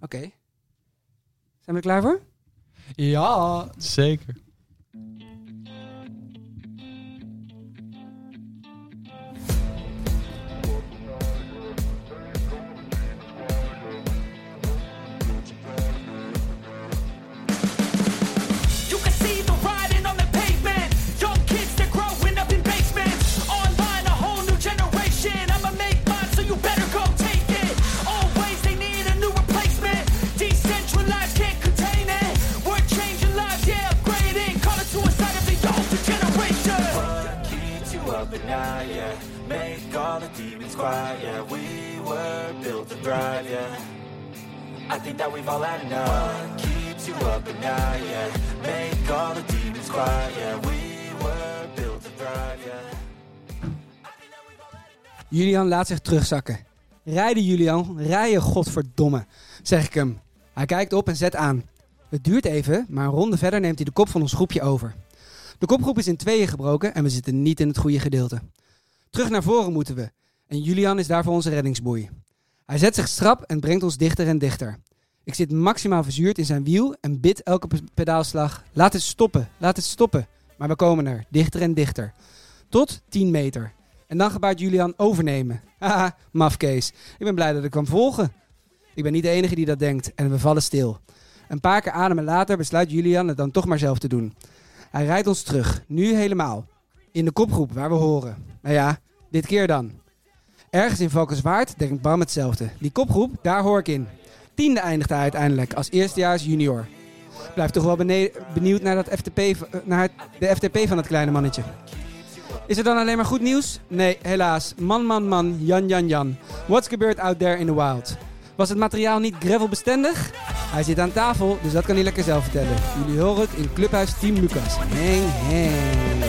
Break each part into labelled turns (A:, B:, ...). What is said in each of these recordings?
A: Oké. Zijn we er klaar voor?
B: Ja, zeker.
C: You can see the riding on the pavement. Young kids, they're growing up in basements. Online, a whole new generation. I'ma make mine, so you better go take it. Always, they need a new replacement. Decentralized, can't contain it. We're changing lives, yeah, upgrading. Call it suicide of the older generation.
D: keeps you up at night, yeah. Make all the demons quiet, yeah. We were built to thrive, yeah. I think that we've all had enough. What keeps you up at night, yeah. Make all the demons quiet, yeah. We were built to thrive, yeah.
A: Julian laat zich terugzakken. Rijden, Julian. Rijden, godverdomme. Zeg ik hem. Hij kijkt op en zet aan. Het duurt even, maar een ronde verder neemt hij de kop van ons groepje over. De kopgroep is in tweeën gebroken en we zitten niet in het goede gedeelte. Terug naar voren moeten we. En Julian is daarvoor onze reddingsboei. Hij zet zich strap en brengt ons dichter en dichter. Ik zit maximaal verzuurd in zijn wiel en bid elke pe- pedaalslag. Laat het stoppen, laat het stoppen. Maar we komen er, dichter en dichter. Tot 10 meter. En dan gebaart Julian overnemen. Haha, mafkees. Ik ben blij dat ik kwam volgen. Ik ben niet de enige die dat denkt en we vallen stil. Een paar keer ademen later besluit Julian het dan toch maar zelf te doen. Hij rijdt ons terug, nu helemaal. In de kopgroep waar we horen. Nou ja, dit keer dan. Ergens in Valkenswaard denkt Bram hetzelfde. Die kopgroep, daar hoor ik in. Tiende eindigt hij uiteindelijk als eerstejaars junior. Blijf toch wel bene- benieuwd naar, dat FTP, v- eh, naar het- de FTP van het kleine mannetje. Is er dan alleen maar goed nieuws? Nee, helaas. Man, man, man. Jan, Jan, Jan. What's gebeurd out there in the wild? Was het materiaal niet gravelbestendig? Hij zit aan tafel, dus dat kan hij lekker zelf vertellen. Jullie horen het in Clubhuis Team Lucas. Heng, heng.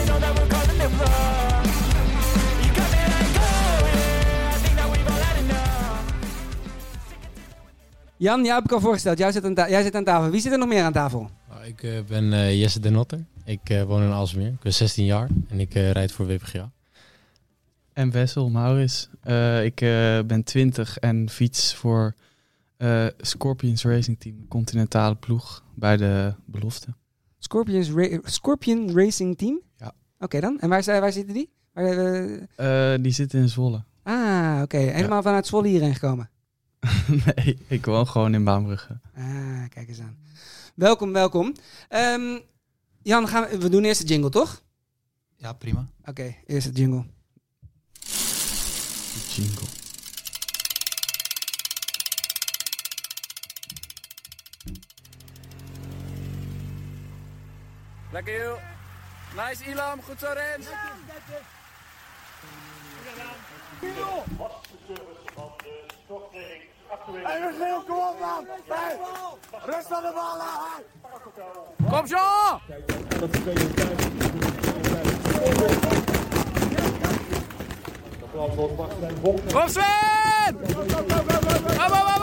A: Jan, jij heb ik al voorgesteld. Jij zit, aan ta- jij zit aan tafel. Wie zit er nog meer aan tafel?
B: Nou, ik eh, ben eh, Jesse de Notter. Ik eh, woon in Alsmeer. Ik ben 16 jaar en ik eh, rijd voor WPGA.
E: En Wessel Maurits. Eh, ik eh, ben 20 en fiets voor eh, Scorpions Racing Team, continentale ploeg bij de belofte.
A: Scorpions Ra- Scorpion Racing Team?
E: Ja.
A: Oké dan. En waar, zijn- waar zitten die? Waar, eh,
E: Eh, die zitten in Zwolle.
A: ah, oké. Helemaal vanuit Zwolle hierheen gekomen.
E: nee, ik woon gewoon in Baanbrugge.
A: Ah, kijk eens aan. Welkom, welkom. Ehm, Jan, gaan we, we doen eerst de jingle, toch?
B: Ja, prima.
A: Oké, eerst de jingle.
E: Jingle.
F: Lekker joh. Nice Ilam, goed zo Rens. Kom Jean! Kom Sven! Op, op, op,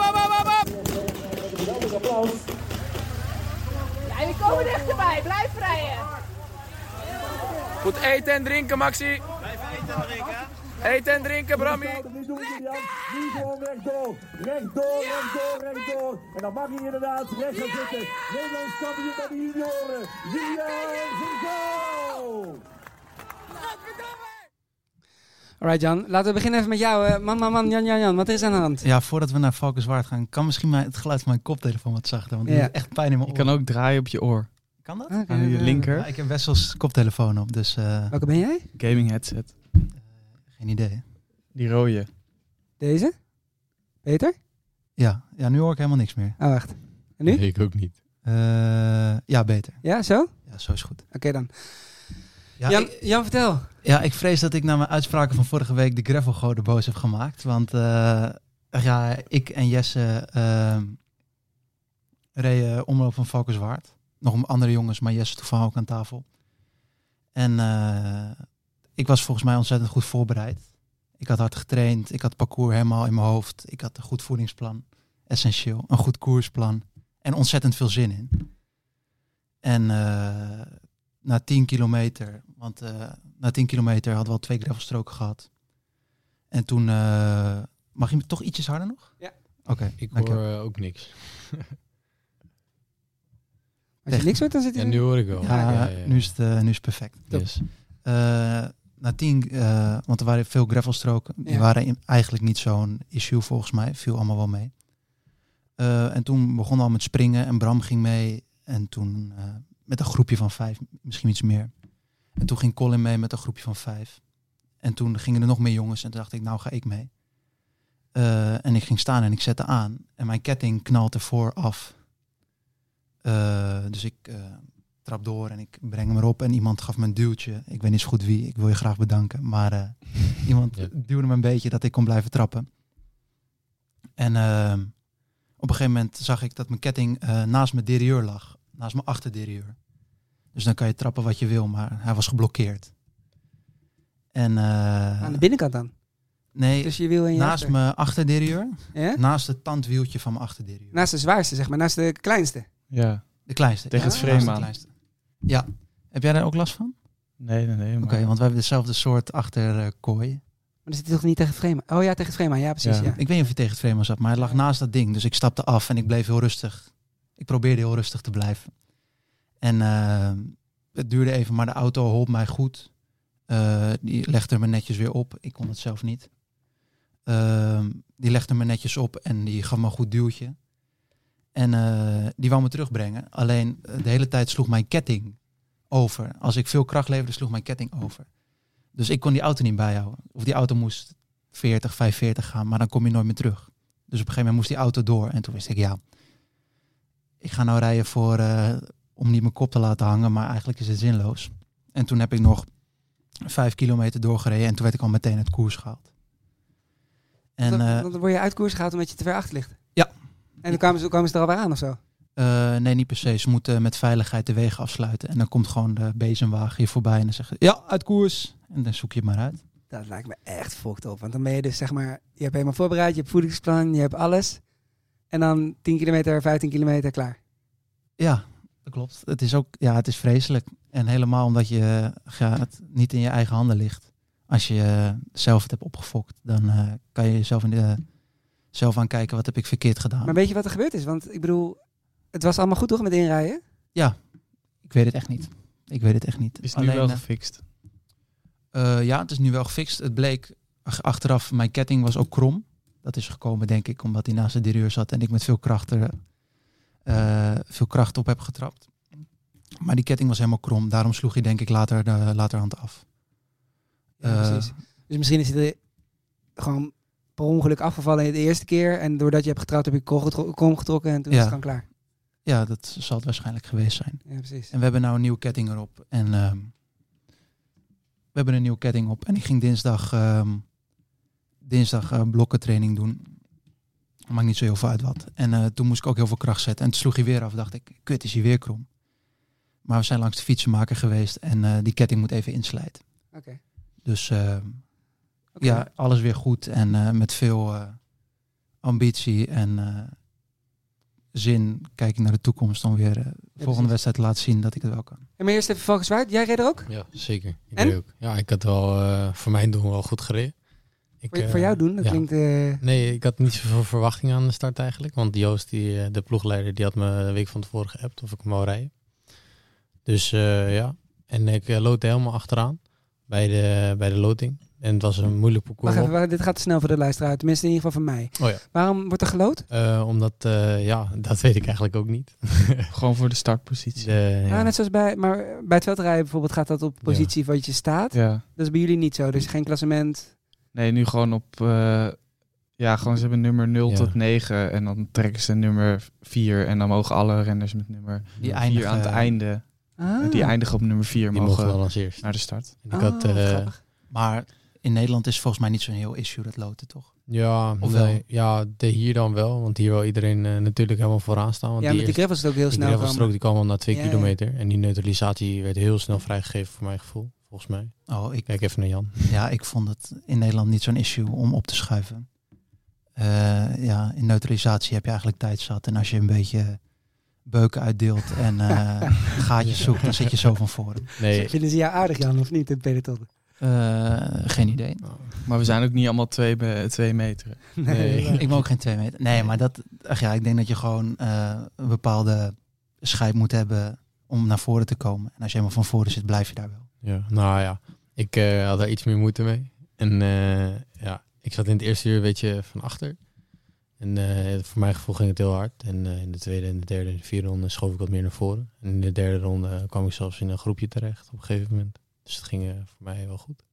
F: op, op, op!
G: Ja, jullie komen dichterbij. Blijf rijden.
F: Goed eten en drinken, Maxi. Blijf eten en drinken. Eten en drinken, Brammy.
H: Dat niet doen, Julian. Nu gewoon rechtdoor. Rechtdoor, rechtdoor, rechtdoor. En dan mag hij inderdaad recht gaan zitten. Nederlands kampioen bij de junioren. Julian Zinko!
A: Alright, Jan, laten we beginnen even met jou. eh. man, man, man, Jan, Jan, Jan, wat is aan de hand?
I: Ja, voordat we naar Valkenswaard gaan, kan misschien mijn, het geluid van mijn koptelefoon wat zachter. Want die
A: Ja.
I: doet echt pijn in mijn
E: Je
I: oor.
E: kan ook draaien op je oor.
I: Kan dat?
A: Oké,
E: Aan je
A: eh,
I: Ja,
E: linker.
I: ik heb Wessels koptelefoon op, dus eh,
A: Welke ben jij?
E: Gaming headset.
I: geen idee.
E: Die rode.
A: Deze? Peter?
I: Ja. ja, nu hoor ik helemaal niks meer.
A: Oh, wacht. En nu?
B: ik ook niet.
I: Eh, ja, beter.
A: Ja, zo? Oké
I: Ja, zo is goed.
A: dan.
I: Ja,
A: Jan,
I: Ik,
A: Jan, vertel.
I: ja, ik vrees dat ik na mijn uitspraken van vorige week de gravelgoden boos heb gemaakt. Want eh, ja, ik en Jesse ehm reden omloop van Valkenswaard. Nog om andere jongens, maar Jesse toevallig ook aan tafel. En eh, ik was volgens mij ontzettend goed voorbereid. Ik had hard getraind, ik had het parcours helemaal in mijn hoofd. Ik had een goed voedingsplan, essentieel. Een goed koersplan en ontzettend veel zin in. En eh, na 10 kilometer, want eh, na 10 kilometer hadden we al twee gravelstroken gehad. En toen, eh, mag je me toch ietsjes harder nog?
A: Ja.
I: Oké, Oké,
B: Ik hoor
I: dankjewel.
B: eh, ook niks.
A: Als je niks hoort, dan zit hij...
B: Ja, nu hoor ik wel.
I: ja,
B: ja, ja.
I: Nu, is het, eh, nu is het perfect.
B: Yes.
I: Eh, na tien, eh, want er waren veel gravelstroken. Die
A: Ja.
I: waren in- eigenlijk niet zo'n issue volgens mij. Viel allemaal wel mee. Eh, en toen begon al met springen en Bram ging mee. En toen eh, met een groepje van vijf, misschien iets meer. En toen ging Colin mee met een groepje van vijf. En toen gingen er nog meer jongens en toen dacht ik, nou ga ik mee. Eh, en ik ging staan en ik zette aan. En mijn ketting knalde vooraf. Eh, dus ik... eh, trap door en ik breng hem erop. En iemand gaf me een duwtje. Ik weet niet zo goed wie, ik wil je graag bedanken. Maar eh, iemand
B: Ja.
I: duwde me een beetje dat ik kon blijven trappen. En ehm, op een gegeven moment zag ik dat mijn ketting eh, naast mijn derieur lag. Naast mijn achterderieur. Dus dan kan je trappen wat je wil, maar hij was geblokkeerd. En eh,
A: Aan de binnenkant dan.
I: nee,
A: Tussen je wiel en je
I: naast
A: achter.
I: mijn achterderieur.
A: Ja?
I: Naast het tandwieltje van mijn achterderieur.
A: Naast de zwaarste, zeg maar. Naast de kleinste.
E: Ja.
I: de kleinste.
E: Tegen
I: ja,
A: het
I: naast
E: frame
I: de
E: aan.
I: kleinste. Ja. Heb jij daar ook last van?
E: Nee, nee, nee. maar-
I: Oké, want we hebben dezelfde soort eh, achterkooi.
A: Maar dan zit hij toch niet tegen het frame? Oh ja, tegen het frame aan. Ja, precies.
E: Ja.
A: Ja.
I: ik weet niet of hij tegen het frame zat, maar hij lag naast dat ding. Dus ik stapte af en ik bleef heel rustig. Ik probeerde heel rustig te blijven. En eh, het duurde even, maar de auto holp mij goed. Eh, die legde me netjes weer op. Ik kon het zelf niet. Ehm, die legde me netjes op en die gaf me een goed duwtje. En eh, die wou me terugbrengen. Alleen eh, de hele tijd sloeg mijn ketting over. Als ik veel kracht leverde, sloeg mijn ketting over. Dus ik kon die auto niet bijhouden. Of die auto moest 40, 45 gaan, maar dan kom je nooit meer terug. Dus op een gegeven moment moest die auto door. En toen wist ik, ja, ik ga nou rijden voor, eh, om niet mijn kop te laten hangen, maar eigenlijk is het zinloos. En toen heb ik nog vijf kilometer doorgereden en toen werd ik al meteen het koers gehaald. En,
A: dan,
I: eh,
A: dan word je uit koers gehaald omdat je te ver achter ligt.
I: Ja.
A: En dan kwamen ze, kwamen ze er alweer aan of zo?
I: Eh, nee, niet per se. Ze moeten met veiligheid de wegen afsluiten. En dan komt gewoon de bezemwagen hier voorbij en dan zeggen ze, ja, uit koers. En dan zoek je het maar uit.
A: Dat lijkt me echt fokt op. Want dan ben je dus, zeg maar... Je hebt helemaal voorbereid, je hebt voedingsplan, je hebt alles. En dan 10 kilometer, 15 kilometer, klaar.
I: Ja, dat klopt. Het is ook, ja, het is vreselijk. En helemaal omdat je ja, het niet in je eigen handen ligt. Als je eh, zelf het hebt opgefokt, dan eh, kan je jezelf in de, zelf aan kijken wat heb ik verkeerd gedaan.
A: Maar weet je wat er gebeurd is? Want ik bedoel, het was allemaal goed toch met inrijden?
I: Ik weet het echt niet. Ik weet het echt niet.
E: Is nu
I: Alleen,
E: wel
I: eh,
E: gefixt.
I: Eh, ja, het is nu wel gefixt. Het bleek ach- achteraf, mijn ketting was ook krom. Dat is gekomen, denk ik, omdat hij naast de derieur zat en ik met veel kracht, er, eh, veel kracht op heb getrapt. Maar die ketting was helemaal krom. Daarom sloeg hij, denk ik, later, de laterhand af. Eh,
A: Dus misschien is het er gewoon per ongeluk afgevallen de eerste keer. En doordat je hebt getrouwd heb je kol getro- krom getrokken en toen
I: Ja.
A: is het gewoon klaar.
I: ja, dat zal het waarschijnlijk geweest zijn.
A: Ja, precies.
I: En we hebben nou een nieuwe ketting erop. En ehm, we hebben een nieuwe ketting op. En ik ging dinsdag, ehm, dinsdag eh, blokkentraining doen. Maakt niet zo heel veel uit wat. En eh, toen moest ik ook heel veel kracht zetten. En toen sloeg hij weer af. Dacht ik, kut, is hij weer krom. Maar we zijn langs de fietsenmaker geweest. En eh, die ketting moet even inslijten.
A: Oké.
I: Dus ehm,
A: Oké.
I: ja, alles weer goed. En eh, met veel eh, ambitie en eh, zin kijk ik naar de toekomst. Om weer eh,
A: precies.
I: volgende wedstrijd te laten zien dat ik het wel kan.
A: En maar eerst even Valkenswaard. Jij reed er ook?
B: Ja, zeker. Ik
A: En?
B: deed ook. Ja, ik had wel eh, voor mijn doen wel goed gereden. Ik,
A: Voor,
B: eh,
A: voor jou doen? Dat
B: ja.
A: klinkt... eh,
B: Nee, ik had niet zoveel verwachting aan de start eigenlijk. Want Joost, die, eh, de ploegleider, die had me een week van tevoren geappt of ik hem wou rijden. Dus eh, ja, en ik eh, loodde helemaal achteraan bij de, bij de loting. En het was een moeilijk parcours.
A: Wacht even,
B: op.
A: wacht, dit gaat te snel voor de luisteraar. Tenminste, in ieder geval van mij.
B: Oh ja.
A: Waarom wordt er geloot?
B: Eh, omdat, eh, ja, dat weet ik eigenlijk ook niet.
E: Gewoon voor de startpositie.
B: Eh, ja.
A: Nou, net zoals bij, maar bij het veldrijden bijvoorbeeld gaat dat op positie wat je staat.
E: Ja.
A: Dat is bij jullie niet zo. Dus geen klassement.
E: Nee, nu gewoon op... eh, ja, gewoon ze hebben nummer 0
B: Ja.
E: tot 9. En dan trekken ze nummer 4. En dan mogen alle renners met nummer
I: Die
E: 4 aan het
I: eh,
E: einde.
A: Ah.
E: Die eindigen op nummer 4
B: die mogen
E: mogen
B: wel als eerst.
E: naar de start.
B: En
A: Ah,
B: ik had,
A: wat
B: eh,
A: grappig.
I: Maar in Nederland is volgens mij niet zo'n heel issue dat loten, toch?
B: ja,
I: Of
B: nee,
I: wel?
B: ja, de hier dan wel. Want hier wil iedereen eh, natuurlijk helemaal vooraan staan. Want
A: ja,
B: die
A: met die
B: eerste-
A: gravel is het ook heel snel
B: Die gravelstrook
A: komen.
B: die kwam al na twee
A: Ja, ja.
B: kilometer. En die neutralisatie werd heel snel vrijgegeven voor mijn gevoel, volgens mij.
I: Oh, ik,
B: Kijk even naar Jan.
I: ja, ik vond het in Nederland niet zo'n issue om op te schuiven. Eh, ja, in neutralisatie heb je eigenlijk tijd zat. En als je een beetje beuken uitdeelt en eh, gaatjes zoekt, dan zit je zo van voren.
B: Nee,
A: Vinden ze jou aardig, Jan, of niet, in het peloton?
I: Eh, geen idee.
B: nou,
E: Maar we zijn ook niet allemaal twee, be- twee meter.
B: Nee.
I: Ik ben ook geen twee meter. Nee, maar dat, ach ja, ik denk dat je gewoon eh, een bepaalde schijf moet hebben om naar voren te komen. En als je helemaal van voren zit, blijf je daar wel.
B: Ja, nou ja, ik eh, had daar iets meer moeite mee. En eh, ja, ik zat in het eerste uur een beetje van achter. En eh, voor mijn gevoel ging het heel hard. En eh, in de tweede, en de derde en de vierde ronde schoof ik wat meer naar voren. En in de derde ronde eh, kwam ik zelfs in een groepje terecht op een gegeven moment. Dus het ging eh, voor mij wel goed.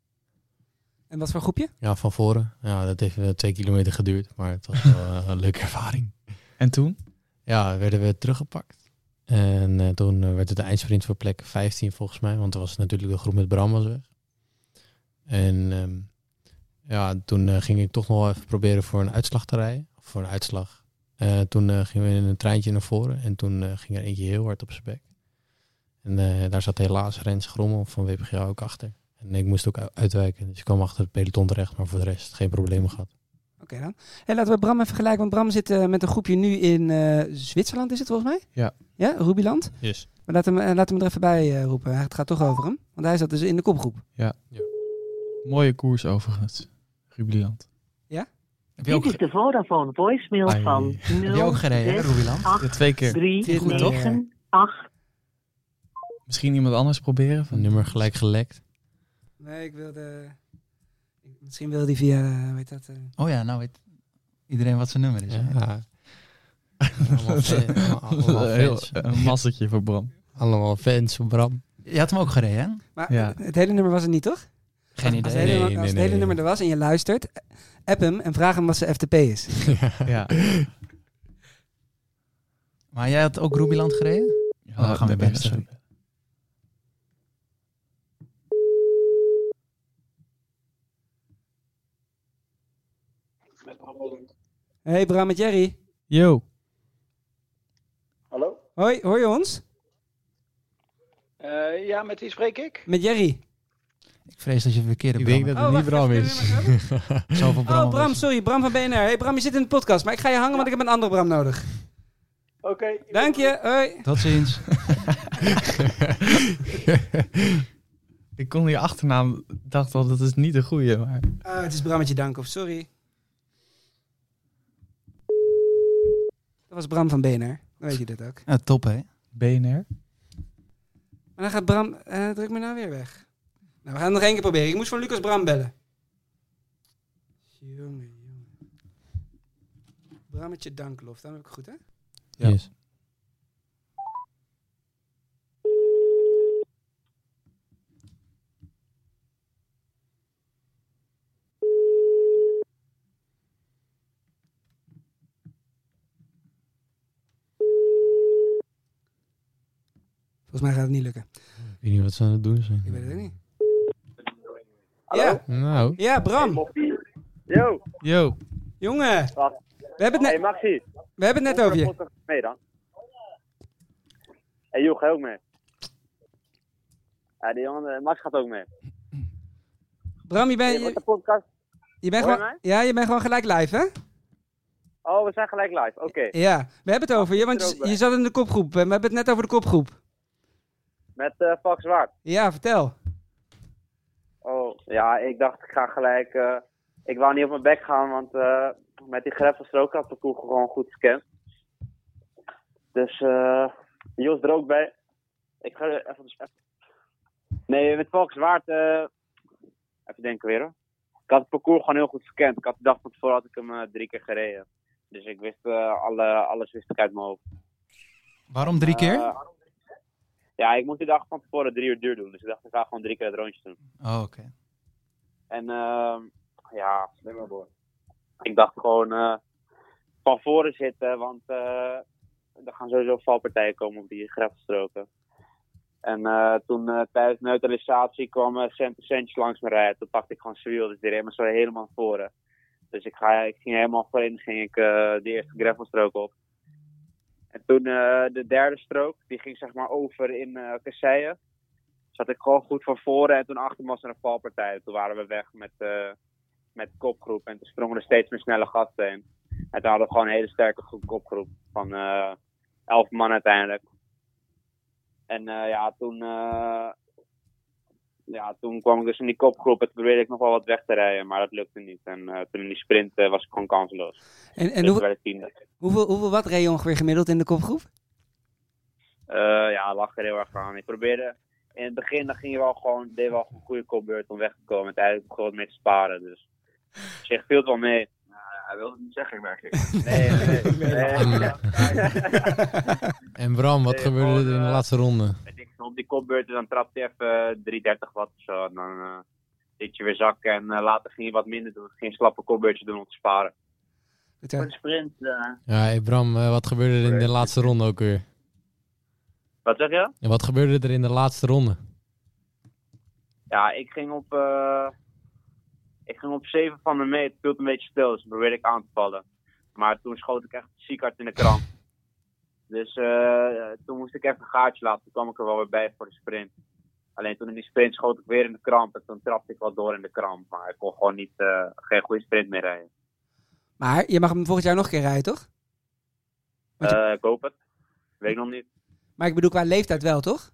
A: En wat voor groepje?
B: Ja, van voren. Ja, dat heeft eh, twee kilometer geduurd, maar het was wel eh, een leuke ervaring.
E: En toen?
B: Ja, werden we teruggepakt. En eh, toen eh, werd het de eindsprint voor plek 15 volgens mij. Want er was natuurlijk de groep met Bram was weg. En ehm, ja, toen eh, ging ik toch nog wel even proberen voor een uitslag te rijden. Of voor een uitslag. Eh, toen eh, gingen we in een treintje naar voren. En toen eh, ging er eentje heel hard op zijn bek. En eh, daar zat helaas Rens Grommel van WPG ook achter. En ik moest ook u- uitwijken. Dus ik kwam achter het peloton terecht. Maar voor de rest geen problemen gehad.
A: Oké dan. Hey, laten we Bram even vergelijken. Want Bram zit eh, met een groepje nu in eh, Zwitserland, is het volgens mij?
E: Ja.
A: Ja, Rubiland.
B: Yes.
A: Maar laat hem, eh, laat hem er even bij eh, roepen. Hij- Het gaat toch over hem. Want hij zat dus in de kopgroep.
E: Mooie koers overigens. Rubliant.
I: Heb je ook,
G: de Vodafone voicemail
E: Ai. van
I: heb je ook gereden, hè, Rubiland?
E: Ja, twee keer.
A: Is goed, toch?
E: Misschien iemand anders proberen? Van,
B: Nummer gelijk gelekt.
A: Nee, ik wilde... eh, ik- Misschien wilde hij via... eh, hoe heet dat? eh,
I: Oh ja, nou weet iedereen wat zijn nummer is. hè?
B: Ja.
I: Oh,
B: Allemaal
I: eh,
B: fan- allemaal
E: Heel,
B: fans.
E: een massetje voor Bram.
B: Allemaal fans van Bram.
I: Je had hem ook gereden, hè?
A: Maar
E: Ja.
A: het, het hele nummer was het niet, toch?
I: Geen
A: Als
I: idee.
A: het hele,
B: Nee,
A: als
B: nee,
A: het
B: nee,
A: hele
B: nee.
A: nummer er was en je luistert, eh, app hem en vraag hem wat zijn FTP is.
E: Ja.
I: Maar jij had ook Rubiland gereden?
E: Ja,
I: dan Oh, gaan we
E: daar
I: bellen,
E: ben je.
I: sorry.
A: Hey Bram met Jerry.
E: Yo.
J: Hallo?
A: Hoi, hoor je ons?
J: Eh, ja, met wie spreek ik?
A: Met Jerry.
I: Ik vrees dat je de verkeerde
B: Ik denk
I: Bram
B: dat
A: Oh,
B: het niet
A: wacht,
B: Bram
A: even,
B: is.
I: hebt. Zoveel
A: Oh
I: Bram
A: Bram, sorry, Bram van BNR. Hey Bram, je zit in de podcast, maar ik ga je hangen, want ik heb een andere Bram nodig.
J: Oké.
A: Dank je, hoi.
I: Tot ziens.
E: Ik kon die achternaam, dacht al, dat is niet de goede. Maar...
A: Ah, het is Brammetje Dankhoff, sorry. Dat was Bram van BNR, dan weet je dit ook.
I: Ja, top, hè?
E: BNR?
A: Maar dan gaat Bram, eh, druk me nou weer weg. Nou, we gaan het nog één keer proberen. Ik moest van Lucas Bram bellen. Jongen, jongen. Brammetje Danklof, dat heb ik goed, hè?
E: Ja.
B: Yes.
A: Volgens mij gaat het niet lukken.
B: Ik weet niet wat ze aan het doen zijn.
A: Ik weet het ook niet.
J: Hallo?
A: Ja,
B: Nou,
A: ja, Bram.
J: Yo,
E: Yo.
A: Jongen.
J: Wat?
A: We hebben het,
J: hey
A: net,
J: Maxi.
A: we hebben het net over je.
J: Mee dan. Hey joh, ga je ook mee? Ja, die jongen, eh, Max gaat ook mee.
A: Bram, je
J: Hey,
A: bent,
J: wat de
A: je,
J: podcast?
A: je bent
J: Hoor je
A: gewoon...
J: mij?
A: Ja, je bent gewoon gelijk live, hè?
J: Oh, we zijn gelijk live. Oké.
A: Ja, we hebben het over je, want je, je zat in de kopgroep. en We hebben het net over de kopgroep.
J: Met eh Fox Waard.
A: Ja, vertel.
J: Oh, ja, ik dacht ik ga gelijk... eh, ik wou niet op mijn bek gaan, want eh, met die greffelstrook had de ploeg gewoon goed gescand. Dus eh Jos er ook bij. Ik ga er even... even- Nee, met Volkswaard... eh even denken weer hoor. Ik had het parcours gewoon heel goed verkend. Ik had de dag van tevoren had ik hem eh, drie keer gereden. Dus ik wist eh, alle, alles wist ik uit mijn hoofd.
I: Waarom drie
A: Ah.
I: keer?
J: Eh, ja, ik moet die dag van tevoren drie uur duur doen. Dus ik dacht ik ga gewoon drie keer het rondje doen.
I: Oh, oké.
J: En ehm, ja, ik dacht gewoon eh, van voren zitten, want eh, er gaan sowieso valpartijen komen op die grafstroken. En eh, toen eh, tijdens neutralisatie kwam uh, Sanchez langs me rijden. Toen pakte ik gewoon zijn wiel, dus die reed me zo helemaal naar voren. Dus ik, ga, ik ging helemaal voorin, ging ik eh, de eerste gravelstrook op. En toen eh, de derde strook, die ging zeg maar over in eh kasseien zat ik gewoon goed van voren. En toen achter me was er een valpartij. Toen waren we weg met, eh met kopgroep. En toen sprongen er steeds meer snelle gasten in. En toen hadden we gewoon een hele sterke groep kopgroep. Van eh elf man uiteindelijk. En eh, ja, toen, eh, ja, toen kwam ik dus in die kopgroep en toen probeerde ik nog wel wat weg te rijden, maar dat lukte niet. En eh, toen in die sprint eh, was ik gewoon kansloos.
A: En, en
J: dus
A: hoe-
J: werd ik tiende.
A: hoeveel, hoeveel wat reed je ongeveer gemiddeld in de kopgroep?
J: Eh, ja, lag er heel erg aan. Ik probeerde, in het begin dan ging je wel gewoon, deed wel een goede kopbeurt om weg te komen. Uiteindelijk begon ik mee te sparen, dus op zich viel het wel mee. Nou, hij wilde het niet zeggen, merk ik. Nee, nee, nee.
B: En Bram, wat
J: Nee,
B: gebeurde
J: gewoon,
B: er in de
J: eh,
B: laatste ronde?
J: weet ik, op die kopbeurten dan trapte hij even eh, 330 wat of zo. En dan eh liet je weer zakken en eh, later ging je wat minder doen. Ging je een slappe kopbeurtje doen om te sparen. Voor de sprint. eh,
B: Ja, hey Bram, eh, wat gebeurde er in de laatste ronde ook weer?
J: wat zeg je?
B: En wat gebeurde er in de laatste ronde?
J: Ja, ik ging op, eh, ik ging op 7 van de meet. Het viel een beetje stil, dus toen probeerde ik aan te vallen. Maar toen schoot ik echt ziek hard in de kramp. Dus eh, toen moest ik even een gaatje laten. Toen kwam ik er wel weer bij voor de sprint. Alleen toen in die sprint schoot ik weer in de kramp. En toen trapte ik wel door in de kramp. Maar ik kon gewoon niet, eh, geen goede sprint meer rijden.
A: Maar je mag hem volgend jaar nog een keer rijden, toch?
J: Eh, ik hoop het. Weet ik nog niet.
A: Maar ik bedoel qua leeftijd wel, toch?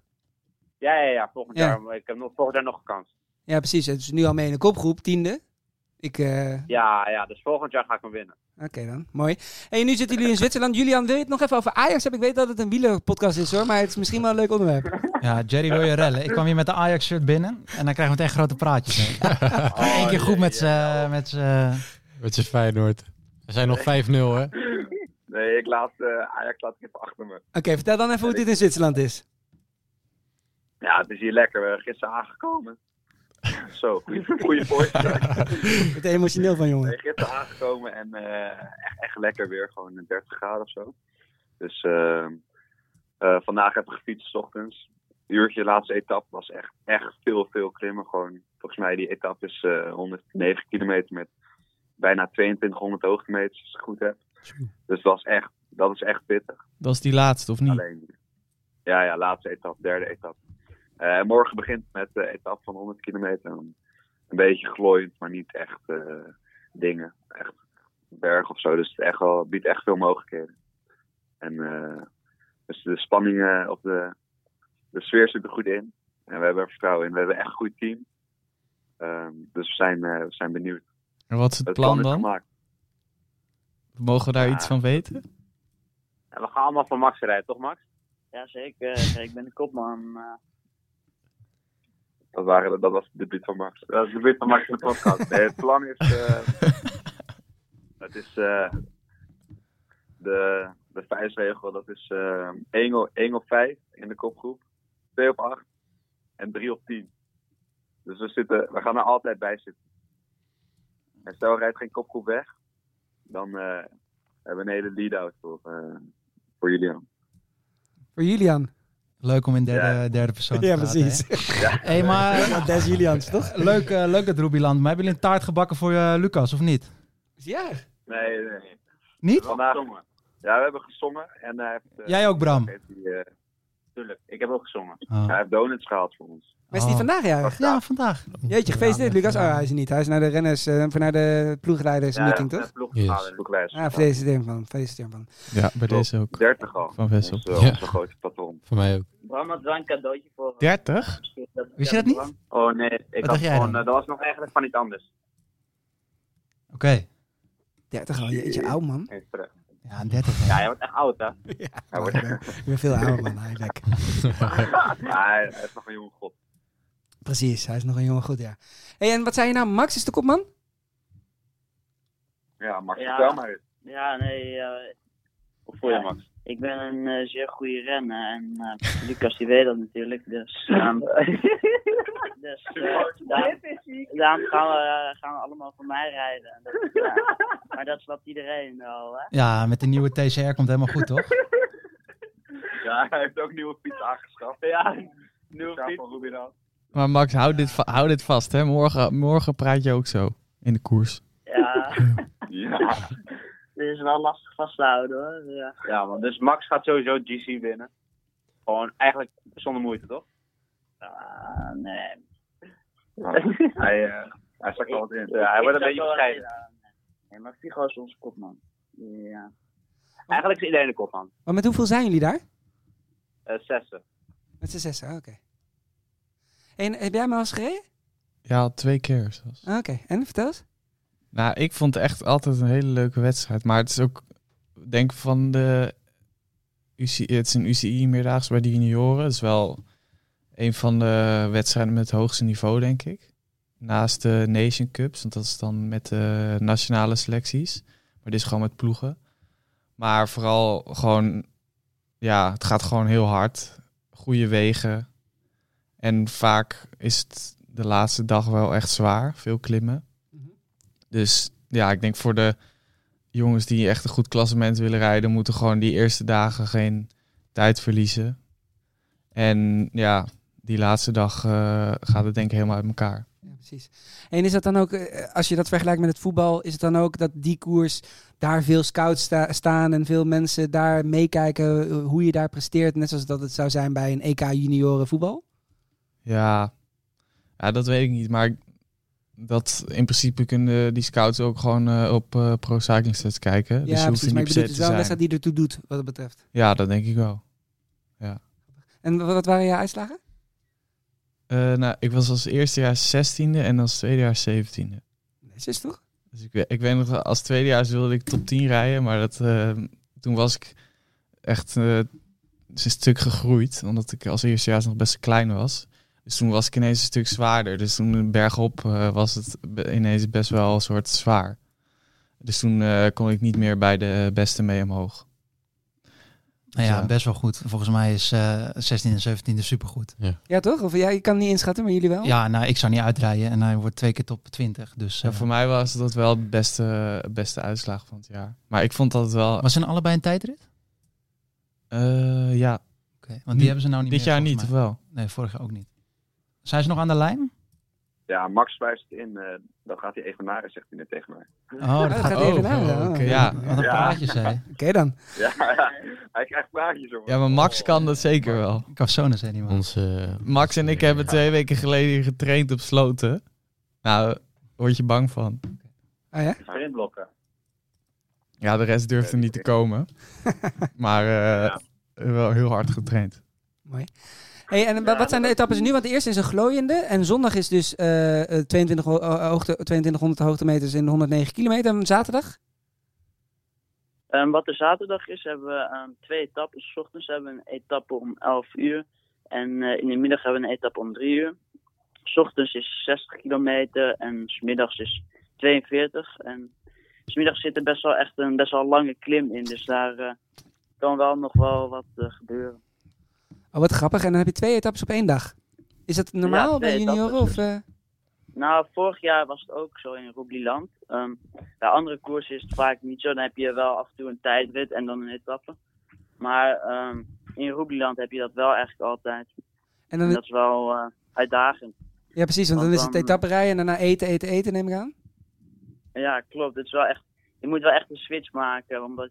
J: Ja, ja, ja. Volgend
A: Ja.
J: jaar. Ik heb nog, volgend jaar nog een kans.
A: Ja, precies. Het is nu al mee in de kopgroep, tiende. Ik, eh,
J: Ja, ja. Dus volgend jaar ga ik hem winnen.
A: Oké dan, mooi. hey, nu zitten jullie in Zwitserland. Julian, wil je het nog even over Ajax hebben? Ik weet dat het een wielerpodcast is hoor, maar het is misschien wel een leuk onderwerp.
I: Ja, Jerry wil je rellen. Ik kwam hier met de Ajax-shirt binnen en dan krijgen we meteen grote praatjes. Hè. Eén keer goed
A: Oh,
I: met z'n... met z'n-
B: Met je Eh, Feyenoord. We zijn nog 5-0, hè?
K: Nee, ik laat eh, Ajax laat ik even achter me.
A: Oké, vertel dan even hoe dit in Zwitserland is.
K: Ja, het is hier lekker. We zijn gisteren aangekomen. Zo, goede voorspraak.
A: Het emotioneel van jongen.
K: Nee, gisteren aangekomen en eh, echt, echt lekker weer. Gewoon 30 graden of zo. Dus eh, eh, vandaag heb ik gefietst 's ochtends. Uurtje laatste etappe was echt, echt veel, veel klimmen. Gewoon, volgens mij die etappe is eh 109 kilometer met bijna 2200 hoogtemeters, als ik het goed heb. Dus dat, was echt, dat is echt pittig.
E: Dat is die laatste, of niet?
K: Alleen. Ja, ja, laatste etappe, derde etappe. Eh, morgen begint met de etappe van 100 kilometer. Een beetje glooiend, maar niet echt eh, dingen. Echt berg of zo. Dus het echt wel, biedt echt veel mogelijkheden. En eh, dus de spanning eh, op de, de sfeer zit er goed in. En we hebben er vertrouwen in. We hebben echt een goed team. Ehm, dus we zijn, eh, we zijn benieuwd.
E: En wat is het,
K: Het plan
E: plan
K: is
E: dan?
K: gemaakt.
E: Mogen we daar iets van weten?
J: En we gaan allemaal van Max rijden, toch Max?
L: Ja, zeker. Ik ben de kopman. eh.
K: Dat, waren, dat was het debuut van Max. Dat is het debuut van Max in de podcast. Nee, het plan is... eh, het is... eh, de, de vijfsregel, dat is eh 1, op, 1 op 5 in de kopgroep. 2 op 8. En 3 op 10. Dus we, zitten, we gaan er altijd bij zitten. En stel, rijdt geen kopgroep weg. Dan eh, hebben we een hele lead-out voor, eh, voor Julian.
A: Voor Julian.
I: Leuk om in derde, derde persoon te
A: Ja,
I: praten,
A: precies.
I: hè?
A: Ja.
I: Hey, maar...
A: Dat is Julians, toch?
I: Leuk, eh, leuk dat Rubiland. Maar hebben jullie een taart gebakken voor eh, Lucas, of niet?
A: Ja.
K: Nee, nee, nee.
I: Niet?
K: Vandaag, ja, we hebben gezongen. En hij heeft, eh,
I: Jij ook, Bram?
K: heeft hij, eh, tuurlijk, ik heb ook gezongen.
I: Oh.
K: Hij heeft donuts gehaald voor ons.
A: Maar is die vandaag jarig?
I: Ja, Oh. vandaag.
A: Jeetje, gefeliciteerd Lucas. Oh, hij is er niet. Hij is naar de renners, eh, of naar de ploegleidersmeeting,
K: Ja,
A: toch?
K: ploegleider, ploegleider.
A: Ah, feliciteer hem van. Feliciteer hem van.
E: Ja, bij
K: Top.
E: deze ook.
K: 30 al.
E: Van Wessel.
K: Onze, onze grote patron.
B: Voor mij ook.
L: Bram had wel een cadeautje voor. eh,
E: 30?
I: Wist je dat niet?
J: Oh nee, ik had
I: dacht jij
J: gewoon,
I: dan?
J: eh, dat was nog eigenlijk van iets anders.
I: Oké.
A: 30 al, jeetje, oud man.
J: Even terug.
I: Ja, 30.
J: Ja, jij wordt echt oud hè?
K: Hij wordt
A: Ik ben veel ouder man, eigenlijk.
K: Ja, hij hij is nog een jonge god.
A: Precies, hij is nog een jongen goed, ja. hey, en wat zei je nou? Max is de kopman?
K: Ja, Max,
L: Ja.
K: vertel maar. eens.
L: Ja, nee. eh,
K: Hoe voel je
L: Ja.
K: Max?
L: ik ben een eh, zeer goede renner. En eh, Lucas die weet dat natuurlijk. Dus, ehm, dus eh, daarom, daarom gaan, we, eh, gaan we allemaal voor mij rijden. En dat, ja. Maar dat snapt iedereen wel, hè?
I: Ja, met de nieuwe TCR komt het helemaal goed, toch?
K: Ja, hij heeft ook nieuwe fiets aangeschaft. Ja, nieuwe fiets.
E: Maar Max, hou dit, va- hou dit vast, hè. Morgen, morgen praat je ook zo in de koers.
L: Ja.
K: Ja.
L: Dit is wel lastig vast te houden, hoor. Ja.
J: Ja man, dus Max gaat sowieso GC winnen. Gewoon eigenlijk zonder moeite toch?
L: Ah, nee.
K: Hij, eh hij zakt er wat in. Ja, hij
L: Ik
K: wordt een
L: zag
K: beetje
L: wel
K: bescheiden.
L: dat hij- Nee, maar Figo is onze kopman. Ja.
J: Eigenlijk is iedereen de kopman.
A: Maar met hoeveel zijn jullie daar?
J: Eh zessen.
A: Met z'n zessen, ah, oké. En heb jij hem al eens gereden?
E: Ja, al twee keer. zelfs.
A: Oké, en vertel eens.
E: Nou, ik vond het echt altijd een hele leuke wedstrijd. Maar het is ook, denk van de. UCI, het is een UCI-meerdaags bij de junioren. Het is wel een van de wedstrijden met het hoogste niveau, denk ik. Naast de Nation Cups, want dat is dan met de Eh, nationale selecties. Maar dit is gewoon met ploegen. Maar vooral gewoon, ja, het gaat gewoon heel hard. Goede wegen. En vaak is het de laatste dag wel echt zwaar. Veel klimmen. Dus ja, ik denk voor de jongens die echt een goed klassement willen rijden, moeten gewoon die eerste dagen geen tijd verliezen. En ja, die laatste dag eh, gaat het denk ik helemaal uit elkaar.
A: Ja, precies. En is dat dan ook, eh, als je dat vergelijkt met het voetbal, is het dan ook dat die koers daar veel scouts sta- staan en veel mensen daar meekijken eh, hoe je daar presteert, net zoals dat het zou zijn bij een EK junioren voetbal?
E: Ja, ja dat weet ik niet. Maar dat in principe kunnen die scouts ook gewoon eh, op eh, Pro Cycling Stats kijken. dus je
A: ja,
E: hoeft er
A: precies. Maar
E: niet
A: ik
E: per
A: bedoel, het
E: se te
A: is wel een
E: zijn.
A: wedstrijd die ertoe doet, wat dat betreft.
E: Ja, dat denk ik wel. Ja.
A: En wa- wat waren je uitslagen?
E: Eh, nou, ik was als eerstejaars 16e en als tweedejaars 17e.
A: Netjes toch?
E: Dus ik, we- ik weet nog, wel, als tweedejaars wilde ik top 10 rijden, maar dat, eh, toen was ik echt eh, een stuk gegroeid, omdat ik als eerstejaars nog best klein was. Dus toen was ik ineens een stuk zwaarder. Dus toen bergop eh, was het be- ineens best wel een soort zwaar. Dus toen eh, kon ik niet meer bij de beste mee omhoog.
I: Nou ja,
E: Ja.
I: best wel goed. Volgens mij is eh 16 en 17 supergoed.
B: Ja.
A: Ja, toch? Of ja, je kan het niet inschatten, maar jullie wel?
I: ja, nou, ik zou niet uitrijden en hij wordt twee keer top 20. Dus,
E: Ja, voor mij was dat wel de beste, beste uitslag van het jaar. Maar ik vond dat het wel...
I: Was in allebei een tijdrit?
E: Eh, ja.
I: Oké, want die hebben ze nou niet
E: Dit
I: meer,
E: jaar niet,
I: volgens
E: of
I: mij.
E: wel?
I: Nee, vorig jaar ook niet. Zijn ze nog aan de lijn?
K: Ja, Max wijst het in. eh dat gaat hij even naar, zegt hij net tegen mij.
I: Oh, dat gaat hij even naar,
E: oh, oké. Ja.
I: Wat een
E: Ja.
I: praatjes, hè. Oké
A: dan.
K: Ja, ja, hij krijgt praatjes over.
E: Ja, maar Max kan dat zeker wel.
I: Cafsone zei die man.
B: Onze,
E: Max en ik
K: eh,
E: hebben twee weken geleden getraind op sloten. Nou, word je bang van.
A: Ah ja?
K: Sprintblokken.
E: Ja, de rest durfde niet te komen. Maar eh, wel heel hard getraind.
A: Hey, en wa- wat zijn de etappes nu? Want de eerste is een glooiende. En zondag is dus eh, eh, 22, ho- eh, hoogte, 2200 hoogtemeters in de 109 kilometer. En zaterdag?
L: Ehm, wat er zaterdag is, hebben we ehm, twee etappes. 's ochtends hebben we een etappe om 11 uur. En eh, in de middag hebben we een etappe om 3 uur. 's ochtends is 60 kilometer en 's middags is 42. En 's middags zit er best wel echt een best wel lange klim in. Dus daar eh, kan wel nog wel wat eh, gebeuren.
A: Oh, wat grappig. En dan heb je twee etappes op één dag. Is dat normaal
L: Ja,
A: bij
L: twee
A: junioren? Of,
L: etappes.
A: eh?
L: Nou, vorig jaar was het ook zo in Rogliland. Ehm bij andere koersen is het vaak niet zo. Dan heb je wel af en toe een tijdrit en dan een etappe. Maar ehm, in Rogliland heb je dat wel eigenlijk altijd.
A: En
L: En,
A: dan-
L: dat is wel eh, uitdagend.
A: Ja, precies. Want dan is het etapperijden en daarna eten, eten, eten, neem ik aan.
L: Ja, klopt. Het is wel echt, je moet wel echt een switch maken. Omdat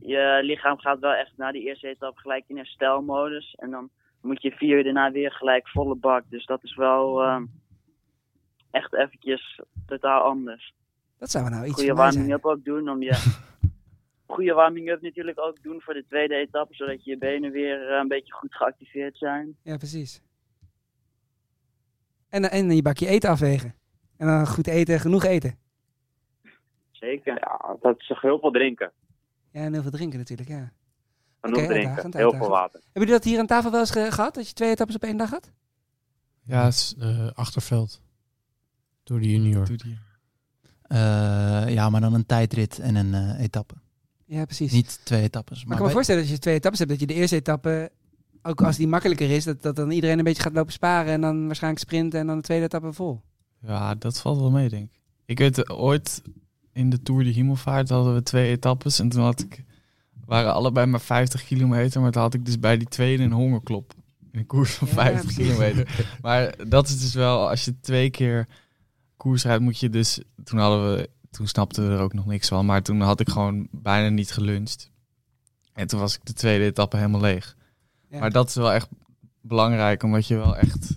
L: je lichaam gaat wel echt na die eerste etappe gelijk in herstelmodus. En dan moet je vier uur daarna weer gelijk volle bak. Dus dat is wel ehm, echt eventjes totaal anders.
A: Dat zou nou iets
L: Goede
A: voor mij zijn.
L: warming-up ook doen om je. Goede warming-up natuurlijk ook doen voor de tweede etappe, zodat je benen weer eh, een beetje goed geactiveerd zijn.
A: Ja, precies. En, eh, en je bakje eten afwegen. En dan goed eten, genoeg eten.
L: Zeker.
K: Ja, dat is toch heel veel drinken.
A: Ja, en heel veel drinken natuurlijk, ja.
K: Genoeg
A: Oké,
K: drinken.
A: uitdagend,
K: heel veel
A: uitdagend.
K: water.
A: Hebben jullie dat hier aan tafel wel eens ge- gehad? Dat je twee etappes op één dag had?
B: Ja,
E: eh,
B: achterveld. Door de junior.
I: Eh, ja, maar dan een tijdrit en een eh, etappe.
A: Ja, precies.
I: Niet twee etappes.
A: Maar, ik kan me
I: bij-
A: voorstellen dat je twee etappes hebt. Dat je de eerste etappe, ook als die makkelijker is, dat, dat dan iedereen een beetje gaat lopen sparen. En dan waarschijnlijk sprinten en dan de tweede etappe vol.
E: Ja, dat valt wel mee, denk ik. Ik weet eh, ooit in de Tour de Hemelvaart hadden we twee etappes. En toen had ik, waren allebei maar 50 kilometer. Maar toen had ik dus bij die tweede een hongerklop. In een koers van
K: Ja,
E: 50
K: precies.
E: kilometer. Maar dat is dus wel, als je twee keer koers rijdt, moet je dus... Toen hadden we, toen snapten we er ook nog niks van. Maar toen had ik gewoon bijna niet geluncht. En toen was ik de tweede etappe helemaal leeg.
A: Ja.
E: Maar dat is wel echt belangrijk, omdat je wel echt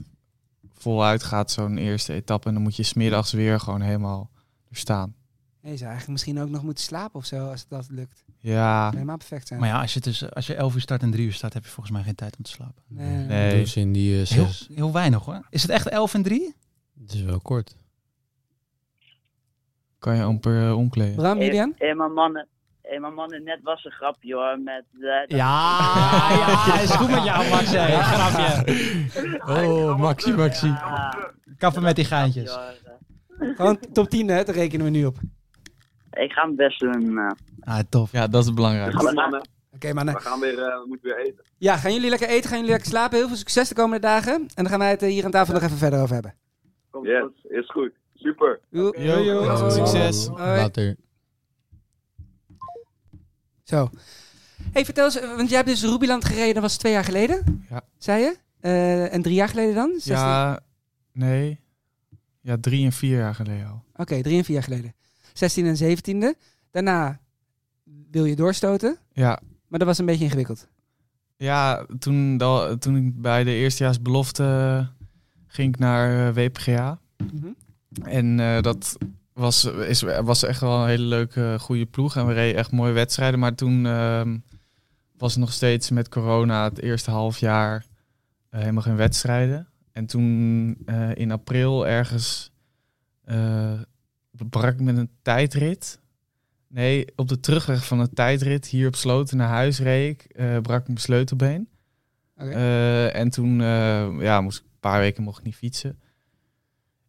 E: voluit gaat zo'n eerste etappe. En dan moet je smiddags weer gewoon helemaal er staan.
A: Nee, je zou eigenlijk misschien ook nog moeten slapen of zo, als dat lukt.
E: Ja.
A: Helemaal perfect zijn.
I: Maar ja, als je, tussen, als je 11 uur start en 3 uur start, heb je volgens mij geen tijd om te slapen.
A: Nee. Nee.
B: Nee. Dus in die eh,
I: Heel,
B: zes.
I: heel weinig hoor. Is het echt 11 en 3?
B: Het is wel kort.
E: Kan je amper eh, omkleden.
A: Bram,
L: Hé, hé, maar mannen. Hé, maar mannen, net was een grapje hoor. Met, eh, dat-
I: Ja, ja, is goed met jou, Max. hè. Grapje.
B: Oh, Maxi, Maxi.
I: Kappen met die geintjes.
A: Gewoon top 10, hè? Daar rekenen we nu op.
L: Ik ga mijn best doen. eh.
I: Ah, tof.
E: Ja, dat is belangrijk.
A: Hallo, mannen. Oké, mannen.
K: We gaan weer, eh, we moeten weer eten.
A: Ja, gaan jullie lekker eten, gaan jullie lekker slapen. Heel veel succes de komende dagen. En dan gaan wij het eh, hier aan tafel nog even verder over hebben.
K: Komt goed. Is goed. Super.
A: Yo, yo,
B: Yo.
E: Succes.
A: Hoi.
B: Nou, Later.
A: Zo. hey, vertel eens, eh, want jij hebt dus Rubiland gereden, dat was twee jaar geleden,
E: Ja.
A: zei je? Eh, en drie jaar geleden dan? 16?
E: Ja, nee. Ja, drie en vier jaar geleden al.
A: Oké, drie en vier jaar geleden. 16 en 17e. Daarna wil je doorstoten,
E: Ja,
A: maar dat was een beetje ingewikkeld.
E: ja toen, da- toen ik bij de eerstejaars belofte ging ik naar eh, WPGA.
A: Mhm.
E: En eh, dat was, is, was echt wel een hele leuke, goede ploeg. En we reden echt mooie wedstrijden. Maar toen ehm, was het nog steeds met corona het eerste half jaar eh, helemaal geen wedstrijden. En toen eh, in april ergens eh, brak ik met een tijdrit. Nee, op de terugweg van een tijdrit hier op Sloten naar huis reed ik, eh, brak ik mijn sleutelbeen.
A: Oké.
E: Eh, en toen eh, ja, moest ik een paar weken mocht ik niet fietsen.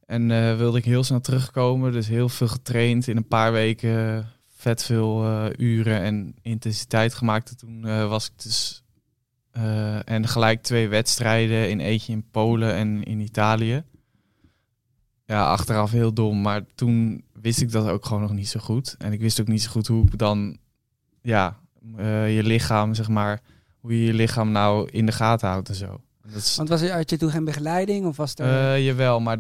E: En eh, wilde ik heel snel terugkomen, dus heel veel getraind in een paar weken. eh, Vet veel eh, uren en intensiteit gemaakt. En toen eh, was ik dus... eh, en gelijk twee wedstrijden in eentje in Polen en in Italië. Ja, achteraf heel dom. Maar toen wist ik dat ook gewoon nog niet zo goed. En ik wist ook niet zo goed hoe ik dan... Ja, eh, je lichaam, zeg maar... Hoe je je lichaam nou in de gaten houdt en zo. En Dat is
A: Want was er, had je toen geen begeleiding of was er...
E: eh, jawel, maar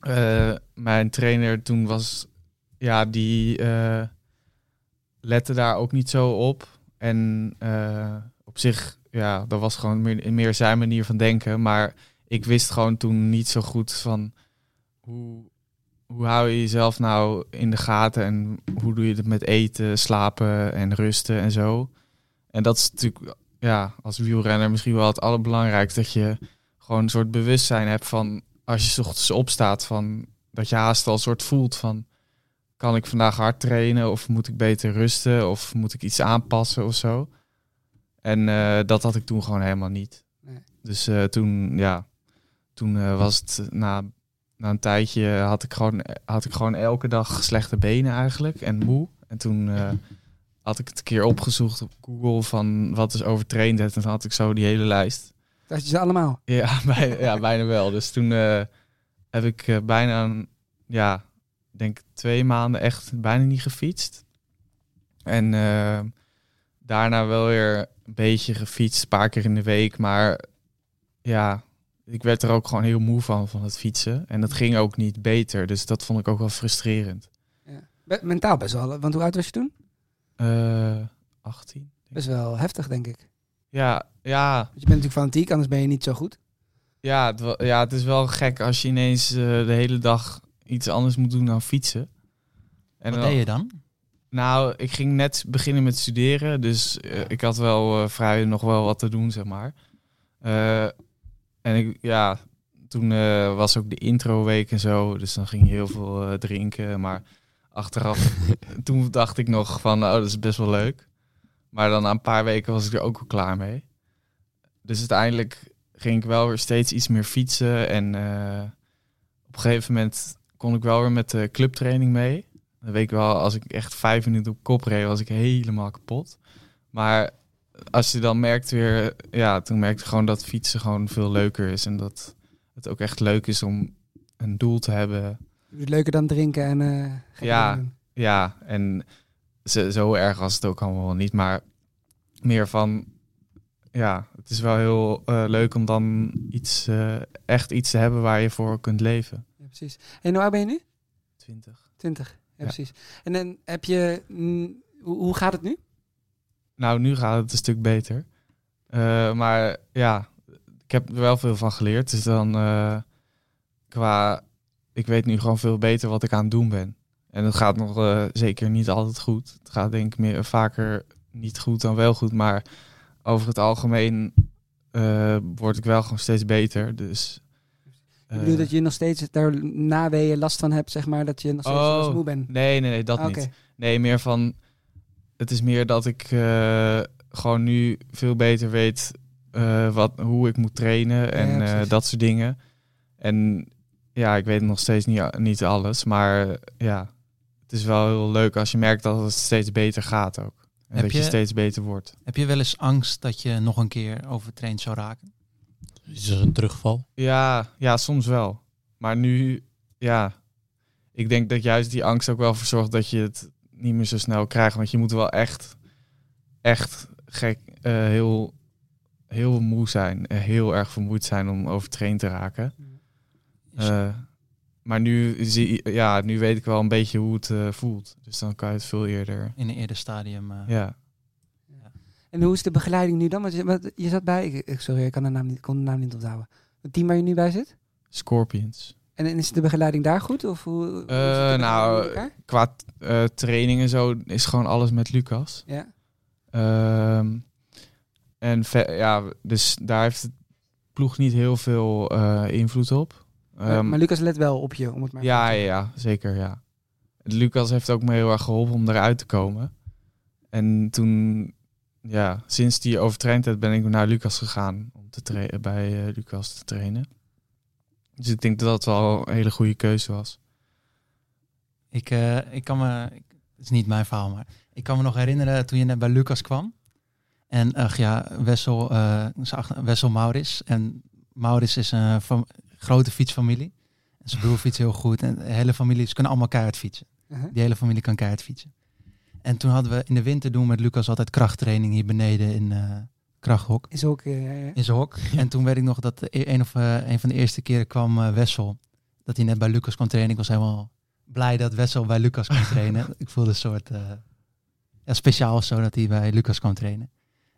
E: eh, mijn trainer toen was, ja, die eh, lette daar ook niet zo op. En eh, op zich, ja, dat was gewoon meer, meer zijn manier van denken. Maar ik wist gewoon toen niet zo goed van hoe, hoe hou je jezelf nou in de gaten en hoe doe je het met eten, slapen en rusten en zo. En dat is natuurlijk, ja, als wielrenner misschien wel het allerbelangrijkste dat je gewoon een soort bewustzijn hebt van als je 's ochtends opstaat van dat je haast al een soort voelt van kan ik vandaag hard trainen of moet ik beter rusten of moet ik iets aanpassen of zo. En eh, dat had ik toen gewoon helemaal niet.
A: Nee.
E: Dus eh, toen ja, toen eh, was het na, na een tijdje had ik gewoon had ik gewoon elke dag slechte benen eigenlijk en moe. En toen eh, had ik het een keer opgezocht op Google van wat is overtraindheid en dan had ik zo die hele lijst.
A: Dat je ze allemaal...
E: Ja, bijna, ja, bijna wel. Dus toen eh, heb ik eh, bijna, een, ja, denk twee maanden echt bijna niet gefietst. En eh, daarna wel weer een beetje gefietst, een paar keer in de week. Maar ja, ik werd er ook gewoon heel moe van, van het fietsen. En dat ging ook niet beter. Dus dat vond ik ook wel frustrerend.
A: Be- mentaal best wel, want hoe oud was je toen?
E: Eh 18?
A: Best wel heftig, denk ik. Want
E: Ja, ja,
A: je bent natuurlijk fanatiek, anders ben je niet zo goed.
E: Ja, het, wa- ja, het is wel gek als je ineens eh, de hele dag iets anders moet doen dan fietsen. En
I: Wat deed je dan?
E: Nou, ik ging net beginnen met studeren, dus eh, ik had wel eh, vrij nog wel wat te doen, zeg maar. Eh, en ik, ja, toen eh, was ook de introweek en zo, dus dan ging je heel veel eh, drinken. Maar achteraf, toen dacht ik nog van, oh, dat is best wel leuk. Maar dan na een paar weken was ik er ook al klaar mee. Dus uiteindelijk ging ik wel weer steeds iets meer fietsen. En eh, op een gegeven moment kon ik wel weer met de clubtraining mee. Dan weet ik wel, als ik echt vijf minuten op kop reed, was ik helemaal kapot. Maar als je dan merkt weer, ja, toen merkte ik gewoon dat fietsen gewoon veel leuker is. En dat het ook echt leuk is om een doel te hebben.
A: Je doet leuker dan drinken en... eh, gekke
E: Ja.
A: dingen doen.
E: Ja, en zo, zo erg was het ook allemaal wel niet. Maar meer van, ja, het is wel heel eh, leuk om dan iets, eh, echt iets te hebben waar je voor kunt leven.
A: Ja, precies. En hoe oud ben je nu?
E: 20.
A: 20. Ja,
E: Ja.
A: precies. En dan heb je... mm, hoe, hoe gaat het nu?
E: Nou, nu gaat het een stuk beter. Eh, maar ja, ik heb er wel veel van geleerd. Dus dan eh, qua, ik weet nu gewoon veel beter wat ik aan het doen ben. En het gaat nog eh, zeker niet altijd goed. Het gaat denk ik meer, vaker niet goed dan wel goed. Maar over het algemeen eh, word ik wel gewoon steeds beter. Dus, eh,
A: Ik bedoel dat je nog steeds daar naweeën last van hebt, zeg maar, dat je nog steeds wel eens moe bent.
E: Oh. Nee, nee, nee, dat
A: Ah, oké.
E: niet. Nee, meer van... Het is meer dat ik eh, gewoon nu veel beter weet eh, wat, hoe ik moet trainen en
A: ja,
E: eh,
A: precies.
E: dat soort dingen. En ja, ik weet nog steeds niet, niet alles, maar eh, ja... Het is wel heel leuk als je merkt dat het steeds beter gaat ook. En
I: Heb
E: dat je
I: je-
E: steeds beter wordt.
I: Heb je wel eens angst dat je nog een keer overtraind zou raken?
B: Is er een terugval?
E: Ja, ja, soms wel. Maar nu, ja, ik denk dat juist die angst ook wel voor zorgt dat je het niet meer zo snel krijgt. Want je moet wel echt, echt gek, eh, heel, heel moe zijn. eh, heel erg vermoeid zijn om overtraind te raken. Eh, maar nu, zie, ja, nu weet ik wel een beetje hoe het eh, voelt. Dus dan kan je het veel eerder.
I: In een eerder stadium. eh,
E: Ja.
A: En hoe is de begeleiding nu dan? Want je, wat- je zat bij, ik- ik, sorry, ik kan de naam niet, kon de naam niet onthouden. Het team waar je nu bij zit?
E: Scorpions.
A: En, en is de begeleiding daar goed? Of hoe, hoe zit de
E: Eh,
A: begeleiding in
E: nou,
A: elkaar?
E: qua eh, training en zo is gewoon alles met Lucas.
A: Ja.
E: Ehm, en ve- ja, dus daar heeft het ploeg niet heel veel eh, invloed op.
A: maar,
E: Ehm,
A: maar Lucas let wel op je, om het maar
E: ja, ja, ja, zeker, ja. Lucas heeft ook me heel erg geholpen om eruit te komen. En toen, ja, sinds die overtraindheid ben ik naar Lucas gegaan om te tra- bij eh, Lucas te trainen. Dus ik denk dat dat wel een hele goede keuze was.
I: Ik, eh, ik kan me, ik- het is niet mijn verhaal, maar ik kan me nog herinneren toen je net bij Lucas kwam. En ach ja, Wessel, eh, zijn achter- Wessel Maurits. En Maurits is een fam- grote fietsfamilie. En zijn broer fietst heel goed. En de hele familie, ze kunnen allemaal keihard fietsen.
A: Mhm.
I: Die hele familie kan keihard fietsen. En toen hadden we in de winter doen we met Lucas altijd krachttraining hier beneden in eh Krachthok.
A: Is ook, eh, ja, ja.
I: In zijn hok. En toen weet ik nog dat de e- een, of, eh, een van de eerste keren kwam eh, Wessel. Dat hij net bij Lucas kon trainen. Ik was helemaal blij dat Wessel bij Lucas kon trainen. ik voelde een soort eh, ja, speciaal of zo dat hij bij Lucas kon trainen.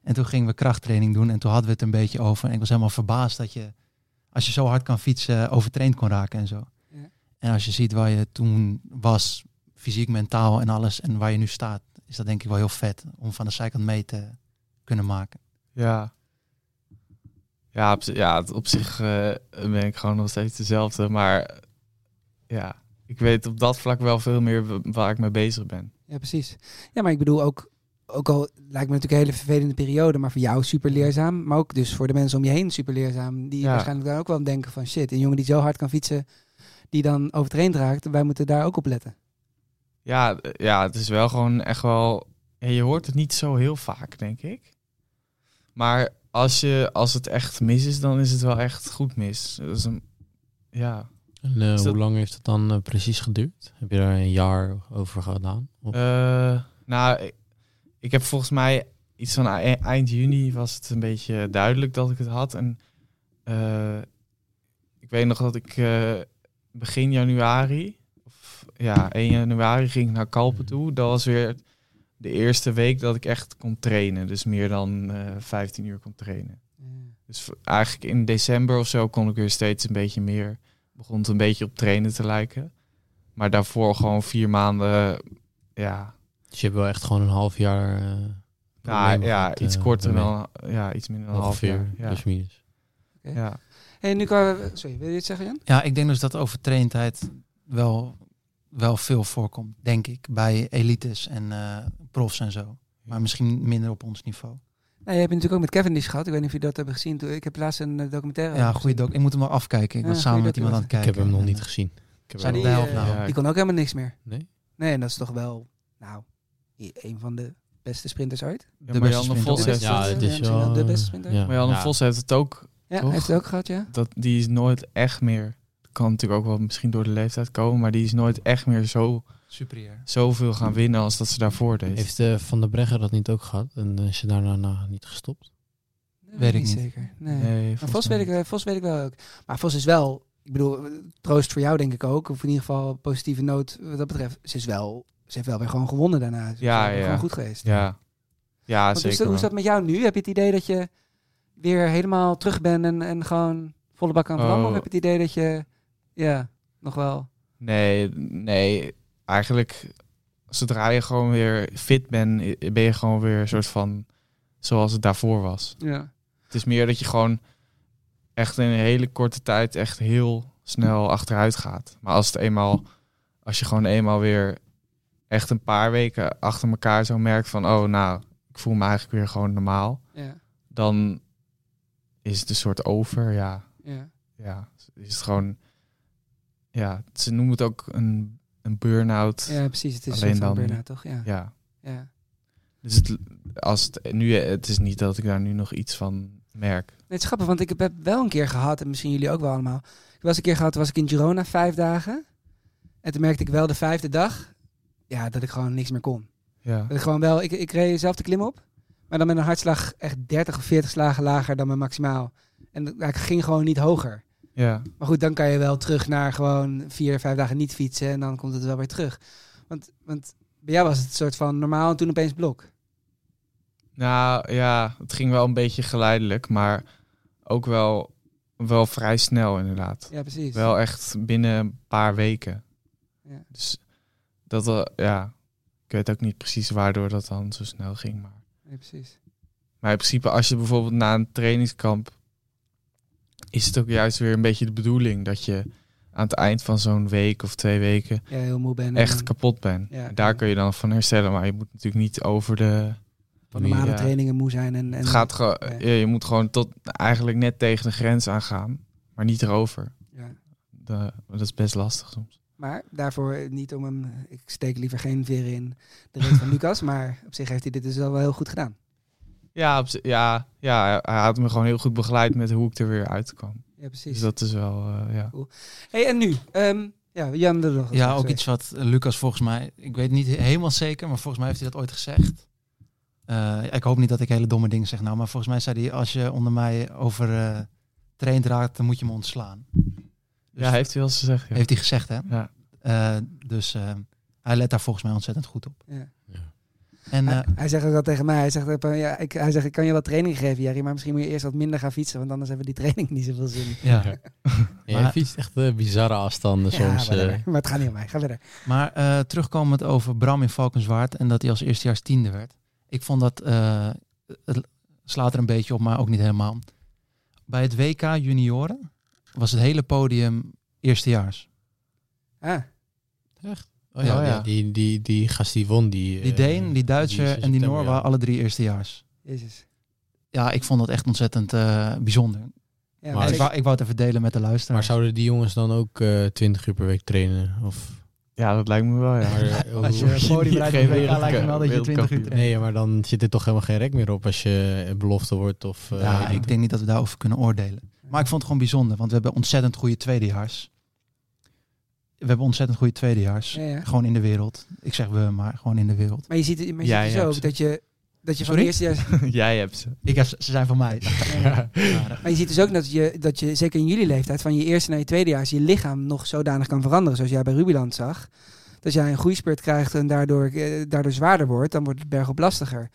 I: En toen gingen we krachttraining doen en toen hadden we het een beetje over. En ik was helemaal verbaasd dat je, als je zo hard kan fietsen, eh, overtraind kon raken en zo. En als je ziet waar je toen was, fysiek, mentaal en alles, en waar je nu staat, is dat denk ik wel heel vet om van de zijkant mee te kunnen maken.
E: Ja. Ja, op, zi- ja, het- op zich eh, ben ik gewoon nog steeds dezelfde. Maar eh, ja, ik weet op dat vlak wel veel meer wa- waar ik mee bezig ben.
A: Ja, precies. Ja, maar ik bedoel ook, ook al lijkt me natuurlijk een hele vervelende periode, maar voor jou super leerzaam. Maar ook dus voor de mensen om je heen super leerzaam. Die
E: Ja.
A: waarschijnlijk daar ook wel aan denken van shit, een jongen die zo hard kan fietsen, die dan overtraind raakt. Wij moeten daar ook op letten.
E: Ja, eh, ja het is wel gewoon echt wel... ja, je hoort het niet zo heel vaak, denk ik. Maar als, je, als het echt mis is, dan is het wel echt goed mis. Dat is een, ja.
B: En eh, hoe lang heeft het dan eh, precies geduurd? Heb je daar een jaar over gedaan? Of-
E: Eh, nou, ik, ik heb volgens mij iets van ei- eind juni was het een beetje duidelijk dat ik het had. En eh, ik weet nog dat ik eh, begin januari, of ja, 1 januari ging ik naar Kalpen toe. Dat was weer de eerste week dat ik echt kon trainen. Dus meer dan eh 15 uur kon trainen. Dus v- eigenlijk in december of zo kon ik weer steeds een beetje meer. Begon het een beetje op trainen te lijken. Maar daarvoor gewoon vier maanden, ja,
B: Dus je hebt wel echt gewoon een half jaar. eh,
E: ja,
B: problemen
E: ja,
B: gehad,
E: iets
B: eh,
E: korter
B: daarmee.
E: dan, ja, iets minder dan een half
B: Ongeveer,
E: jaar. Ja.
B: plus minus.
A: Oké.
E: Ja.
A: Hey, nu kan Sorry, wil je dit zeggen, Jan?
I: Ja, ik denk dus dat overtraindheid wel, wel veel voorkomt, denk ik, bij elites en eh, profs en zo. Maar misschien minder op ons niveau.
A: Nou, je hebt natuurlijk ook met Cavendish gehad. Ik weet niet of jullie dat hebben gezien. Toen- Ik heb laatst een eh, documentaire.
I: Ja, goede doc. Ik moet hem wel afkijken. Ik
A: Ja,
I: was samen
A: goeie
I: met iemand aan het kijken.
B: Ik heb hem nog
I: En,
B: niet
I: eh,
B: gezien. Ik heb
I: Zijn
B: hem
I: die
B: nog-
I: bij of nou?
A: Die kon ook helemaal niks meer.
B: Nee?
A: Nee, en dat is toch wel, nou, i- een van de beste sprinters ooit.
E: Ja, maar Jan de Vos heeft
B: Ja, het is
A: misschien
B: wel,
A: De
B: eh,
A: beste sprinter.
B: ja.
E: Maar Jan de Vos heeft het ook.
A: Ja,
E: toch?
A: heeft het ook gehad, ja.
E: Dat, die is nooit echt meer. Kan natuurlijk ook wel misschien door de leeftijd komen, maar die is nooit echt meer zo.
I: Superieur.
E: Zoveel gaan winnen als dat ze daarvoor deed.
B: Heeft eh, Van der Breggen dat niet ook gehad? En eh, is ze daarna na- niet gestopt?
I: Weet ik niet.
A: Zeker. Nee.
E: Nee,
A: maar
E: volgens
A: Vos weet, ik, eh, Vos weet ik wel ook. Maar Vos is wel, ik bedoel, eh, troost voor jou denk ik ook. Of in ieder geval een positieve noot wat dat betreft. Ze, is wel, ze heeft wel weer gewoon gewonnen daarna. Ze is
E: Ja,
A: wel weer
E: ja.
A: gewoon goed geweest.
E: Ja, ja
A: Want hoe, is
E: zeker.
A: dat, hoe is
E: wel.
A: dat met jou nu? Heb je het idee dat je weer helemaal terug bent en, en gewoon volle bak aan het
E: Oh.
A: rammen? Of heb je het idee dat je, ja, nog wel...
E: Nee, nee. eigenlijk, zodra je gewoon weer fit bent, i- ben je gewoon weer een soort van zoals het daarvoor was.
A: Ja.
E: Het is meer dat je gewoon echt in een hele korte tijd echt heel snel achteruit gaat. Maar als het eenmaal, als je gewoon eenmaal weer echt een paar weken achter elkaar zo merkt van, oh nou, ik voel me eigenlijk weer gewoon normaal.
A: Ja.
E: Dan is het een soort over, ja.
A: Ja.
E: Ja, is het gewoon, ja, ze noemen het ook een, een burn-out.
A: Ja, precies, het is een soort van burn-out, toch? Ja.
E: Ja.
A: Ja.
E: Dus het, als het, nu, het is niet dat ik daar nu nog iets van merk.
A: Nee, het is grappig, want ik heb wel een keer gehad, en misschien jullie ook wel allemaal. Ik was een keer gehad, was ik in Girona vijf dagen. En toen merkte ik wel de vijfde dag, ja, dat ik gewoon niks meer kon.
E: Ja.
A: Dat ik gewoon wel, ik, ik reed zelf de klim op, maar dan met een hartslag echt 30 of 40 slagen lager dan mijn maximaal. En dat- ja, ik ging gewoon niet hoger.
E: Ja.
A: Maar goed, dan kan je wel terug naar gewoon vier, vijf dagen niet fietsen en dan komt het wel weer terug. Want, want bij jou was het een soort van normaal en toen opeens blok.
E: Nou ja, het ging wel een beetje geleidelijk, maar ook wel, wel vrij snel inderdaad.
A: Ja, precies.
E: Wel echt binnen een paar weken. Dus dat, wel- ja, ik weet ook niet precies waardoor dat dan zo snel ging. Maar,
A: Nee, precies.
E: maar in principe, als je bijvoorbeeld na een trainingskamp, is het ook juist weer een beetje de bedoeling dat je aan het eind van zo'n week of twee weken
A: Ja, heel moe bent en
E: echt
A: dan-
E: kapot bent.
A: Ja,
E: En daar kun je dan van herstellen, maar je moet natuurlijk niet over de...
A: Van normale
E: Ja.
A: trainingen moe zijn. En, en
E: Het gaat gewoon, ja, je moet gewoon tot eigenlijk net tegen de grens aangaan, maar niet erover.
A: Ja.
E: De- dat is best lastig soms.
A: Maar daarvoor niet om hem. Ik steek liever geen veer in de reet van Lucas. Maar op zich heeft hij dit dus wel wel heel goed gedaan.
E: Ja, op zi- ja, ja, hij had me gewoon heel goed begeleid met hoe ik er weer uit kwam.
A: Ja, precies.
E: Dus dat is wel, eh, ja.
A: hey, en nu? Ehm, ja, Jan de nog.
I: Ja, ook
A: sorry.
I: iets wat eh, Lucas volgens mij, ik weet niet he- helemaal zeker, maar volgens mij heeft hij dat ooit gezegd. Eh, ik hoop niet dat ik hele domme dingen zeg nou, maar volgens mij zei hij, als je onder mij over eh, traint raakt, dan moet je me ontslaan. Dus
E: Ja, heeft hij wel eens gezegd, ja.
I: Heeft hij gezegd, hè?
E: Ja.
I: Eh, dus eh, hij let daar volgens mij ontzettend goed op.
A: Ja.
I: En
A: hij,
I: eh,
A: hij zegt ook dat tegen mij. Hij zegt, ook van, ja, ik, hij zegt, ik kan je wel training geven, Jerry. Maar misschien moet je eerst wat minder gaan fietsen. Want anders hebben die training niet zoveel zin.
I: Ja.
B: Ja, je fietst echt eh, bizarre afstanden
A: Ja,
B: soms. eh.
A: whatever. maar het gaat niet om mij. Ga verder.
I: Maar eh, terugkomend over Bram in Valkenswaard en dat hij als eerstejaars tiende werd. Ik vond dat, eh, het slaat er een beetje op, maar ook niet helemaal. Bij het WK junioren was het hele podium eerstejaars.
A: Ah.
B: Echt? Oh ja,
I: Oh ja.
B: Die, die, die, die gast die won, die... eh,
I: Die Deen, die Duitser
B: is in
I: en die
B: september,
I: Noor
B: ja.
I: waren alle drie eerstejaars.
A: Jezus.
I: Ja, ik vond dat echt ontzettend eh, bijzonder.
A: Ja,
I: maar ik, wou, ik wou het even delen met de luisteraar.
B: Maar zouden die jongens dan ook eh 20 uur per week trainen? Of... eh,
E: Ja, dat lijkt me wel, ja.
I: Als je podiumleider bent, dan lijkt me wel dat je 20 uur traint.
B: Nee, maar dan zit er toch helemaal geen rek meer op als je eh, belofte wordt of... eh,
I: ja,
B: weet
I: ik denk niet dat we daarover kunnen oordelen. Maar ik vond het gewoon bijzonder, want we hebben ontzettend goede tweedejaars. We hebben ontzettend goede tweedejaars.
A: Ja, ja.
I: Gewoon in de wereld. Ik zeg we, maar gewoon in de wereld.
A: Maar je ziet, maar je ziet
I: Ja,
A: dus
I: ja,
A: ook
I: ze-
A: dat je, dat je van
I: Sorry?
A: eerste jaar...
E: Jij hebt ze.
I: Ik heb, ze ze zijn van mij. Maar,
A: Maar je ziet dus ook dat je, dat je, zeker in jullie leeftijd, van je eerste naar je tweede jaar, je lichaam nog zodanig kan veranderen, zoals jij bij Rubiland zag. Dat jij een groeispurt krijgt en daardoor, eh, daardoor zwaarder wordt, dan wordt het bergop lastiger.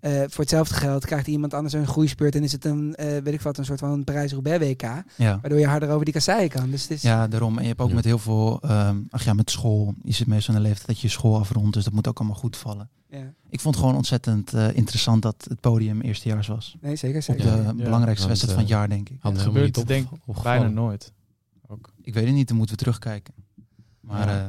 A: Eh, voor hetzelfde geld krijgt iemand anders een groeispurt en is het een, eh, weet ik wat, een soort van Parijs-Roubaix WK. Waardoor je harder over die kasseien kan. Dus het is,
I: Ja, daarom. En je hebt ook met heel veel, ehm, ach ja, met school. Je zit meestal in de leeftijd dat je je school afrondt, dus dat moet ook allemaal goed vallen.
A: Ja.
I: Ik vond het gewoon ontzettend eh, interessant dat het podium eerstejaars was.
A: Nee, zeker,
I: Op
A: zeker.
I: de
A: Ja, ja.
I: belangrijkste
A: Want,
I: wedstrijd van het
A: eh,
I: jaar, denk ik.
A: had
E: Het gebeurt denk ik bijna nooit.
I: Ik weet het niet, dan moeten we terugkijken. Maar
E: Ja.
I: eh,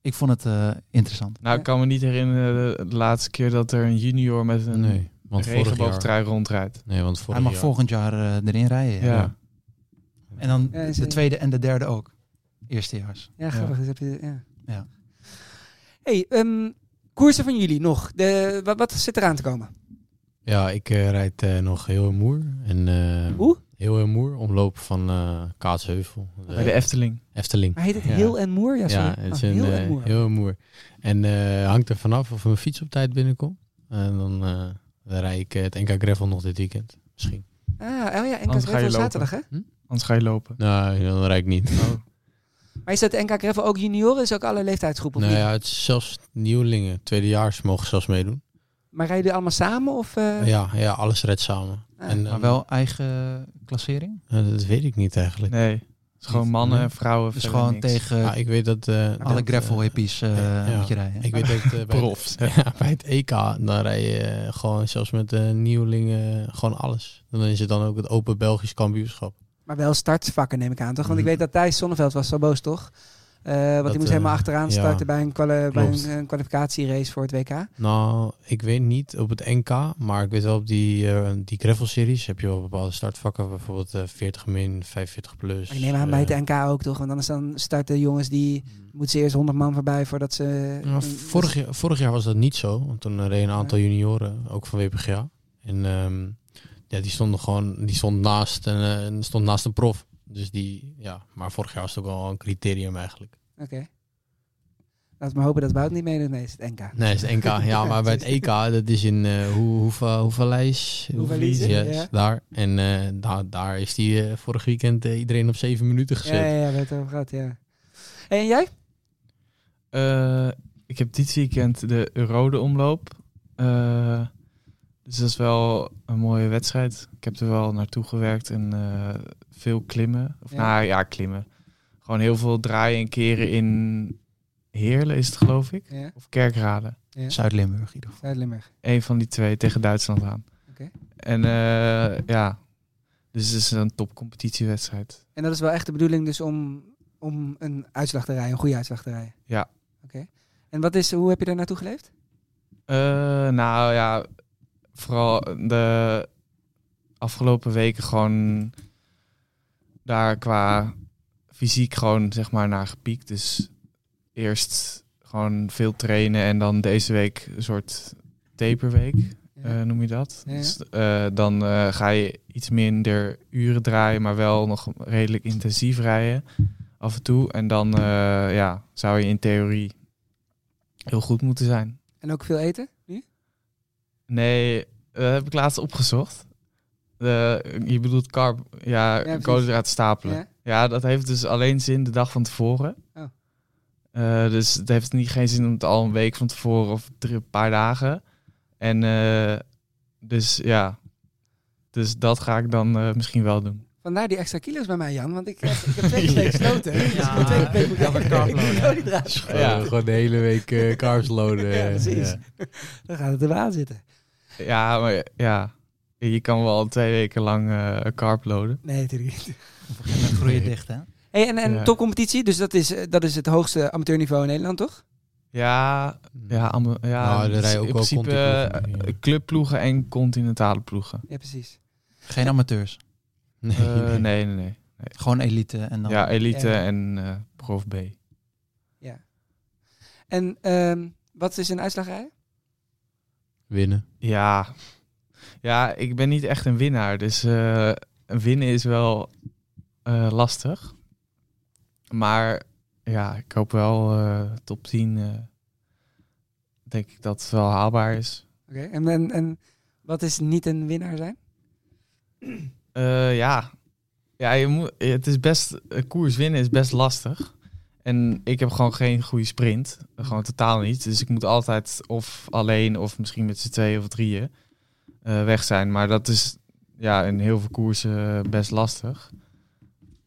I: ik vond het eh, interessant.
E: Nou, ik kan me niet herinneren de, de laatste keer dat er een junior met een
B: Nee, want vorig
E: regenboogtrui
B: jaar-
E: rondrijdt.
B: Nee, want
I: Hij mag volgend jaar eh, erin rijden. Ja.
E: Ja.
I: En dan
A: Ja,
I: de
A: zeker.
I: tweede en de derde ook. Eerstejaars.
A: Ja, grappig. Dus heb je, ja.
I: Ja.
A: hey, ehm, koersen van jullie nog. De, wat, wat zit eraan te komen?
B: Ja, ik eh, rijd eh, nog heel en moer. En, eh,
A: Hoe?
B: Heel en moer, omloop van eh Kaatsheuvel.
E: Oh, Bij de Efteling.
B: Efteling.
A: Maar heet het Heel en Moer? Ja, sorry.
B: het is
A: Oh,
B: een,
A: Heel
B: heel,
A: en Moer.
B: heel en moer. En eh, hangt er vanaf of mijn fiets op tijd binnenkomt. En dan, eh dan rijd ik eh, het NK Gravel nog dit weekend. Misschien.
A: Ah, oh ja, NK
E: Anders ga je
A: Gravel
E: lopen.
A: zaterdag, hè?
I: Hm?
E: Anders ga je lopen. Oh.
B: Nou, dan rijd ik niet.
A: Maar is dat NK Gravel ook junioren? Is ook alle leeftijdsgroepen? of
B: Nou
A: niet?
B: ja, het is zelfs nieuwelingen. Tweedejaars mogen zelfs meedoen.
A: Maar rijden jullie allemaal samen? Of, eh?
B: Ja, ja alles redt samen.
A: Ah.
B: en, ehm,
I: maar wel eigen klassering?
B: eh, dat weet Nou, ik niet eigenlijk.
E: Nee. is gewoon mannen en vrouwen.
I: Dus
E: verder
I: gewoon
E: niks.
I: tegen
B: Ja, ik weet dat, eh,
I: alle
B: dat,
I: gravel hippies eh,
B: Ja,
I: moet je rijden.
B: Ik weet dat eh, bij,
I: Profs.
B: Het, ja, bij het EK, dan rij je eh, gewoon zelfs met eh, nieuwelingen gewoon alles. Dan is het dan ook het Open Belgisch Kampioenschap.
A: Maar wel startvakken neem ik aan, toch? Want ik weet dat Thijs Sonneveld was zo boos, toch? Eh, want
B: Mhm. Dat,
A: die moest helemaal
B: eh,
A: achteraan
B: ja,
A: starten bij, een, kwali- bij
B: klopt.
A: een, een kwalificatierace voor het WK.
B: Nou, ik weet niet op het NK, maar ik weet wel op die, eh, die gravel-series heb je wel bepaalde startvakken. Bijvoorbeeld eh, 40 min, 45 plus.
A: Maar ik neem aan bij het NK ook, toch? Want anders dan starten jongens die... Moeten ze eerst 100 man voorbij voordat ze...
B: Mhm. Ja, vorig, jaar, vorig jaar was dat niet zo, want toen eh, reden een aantal junioren, ook van WPGA. En ehm, ja, die stonden gewoon, die stond naast een, eh, een- stond naast een prof. Dus die, ja, maar vorig jaar was het ook wel een criterium eigenlijk.
A: Oké. Laten we maar hopen dat Wout niet meedoet. Nee, het is het NK.
B: Nee, het is NK. Ja, maar bij het E EK, dat is in eh hoe, hoeveel, hoeveel lijst?
A: Hoevelies, ja.
B: daar. En eh, daar, daar is die eh, vorig weekend eh, iedereen op zeven minuten gezet.
A: Ja, ja, ja, we hebben het over gehad, ja. En jij?
E: Eh, ik heb dit weekend de Eurode omloop. Eh, dus dat is wel een mooie wedstrijd. Ik heb er wel naartoe gewerkt en eh, veel klimmen. Of
K: Ja.
E: nou ja, klimmen. Gewoon heel veel draaien en keren in Heerlen is het geloof ik.
A: Ja.
E: Of Kerkrade.
A: Ja.
I: Zuid-Limburg in ieder geval.
A: Zuid-Limburg.
E: Een van die twee tegen Duitsland aan.
A: Oké.
E: En eh, ja, dus het is een topcompetitiewedstrijd.
A: En dat is wel echt de bedoeling dus om, om een uitslag te rijden, een goede uitslag te rijden.
E: Ja.
A: Oké. En wat is, hoe heb je daar naartoe geleefd?
E: Eh, nou ja, vooral de afgelopen weken gewoon daar qua fysiek gewoon zeg maar naar gepiekt. Dus eerst gewoon veel trainen en dan deze week een soort taperweek, eh, noem je dat.
K: Ja, ja.
E: Dus eh, dan eh, ga je iets minder uren draaien, maar wel nog redelijk intensief rijden af en toe. En dan eh, ja, zou je in theorie heel goed moeten zijn.
A: En ook veel eten nu?
E: Nee, eh, dat heb ik laatst opgezocht. De, je bedoelt carb, ja,
A: precies.
E: koolhydraten stapelen.
A: Ja.
E: Ja. dat heeft dus alleen zin de dag van tevoren.
A: Oh.
E: Eh, dus het heeft niet geen zin om het al een week van tevoren of drie, een paar dagen. En eh, dus ja, dus dat ga ik dan eh, misschien wel doen.
A: Vandaar die extra kilo's bij mij, Jan, want ik heb, ik heb twee keer steeds sloten. Dus ik moet twee keer per week
B: Ja, maar carb
A: moet ik
B: loaden.
A: koolhydraten
B: Dus Gewoon, gewoon de hele week eh carbs loaden. eh,
A: Ja, precies.
B: Ja.
A: Dan gaat het er wel aan zitten.
E: Ja, maar ja, je kan wel twee weken lang eh carb loaden.
A: Nee, natuurlijk niet.
I: Op een gegeven moment groei je dicht, hè?
A: Hey, en en
E: Ja.
A: topcompetitie, dus dat is, eh, dat is het hoogste amateurniveau in Nederland, toch?
E: Ja, ja, allemaal- ja
B: Nou, er
E: dus
B: rijden ook
E: in
B: wel
E: principe
B: conti-ploegen,
E: eh, clubploegen en continentale ploegen.
A: Ja, precies.
I: Geen amateurs.
B: Nee,
E: Eh, nee, nee, nee, nee.
I: Gewoon elite en dan...
E: Ja, elite
A: Ja.
E: en eh prof B.
A: Ja. En ehm, wat is een uitslag rijden?
B: Winnen.
E: Ja. ja, ik ben niet echt een winnaar, dus eh, winnen is wel eh, lastig. Maar ja, ik hoop wel eh, top 10. eh, denk ik dat het wel haalbaar is.
A: Oké. En, en, en wat is niet een winnaar zijn?
E: Eh, ja, ja je moet, het is best, een koers winnen is best lastig. En ik heb gewoon geen goede sprint. Gewoon totaal niet. Dus ik moet altijd of alleen of misschien met z'n tweeën of drieën eh, weg zijn. Maar dat is ja, in heel veel koersen eh, best lastig.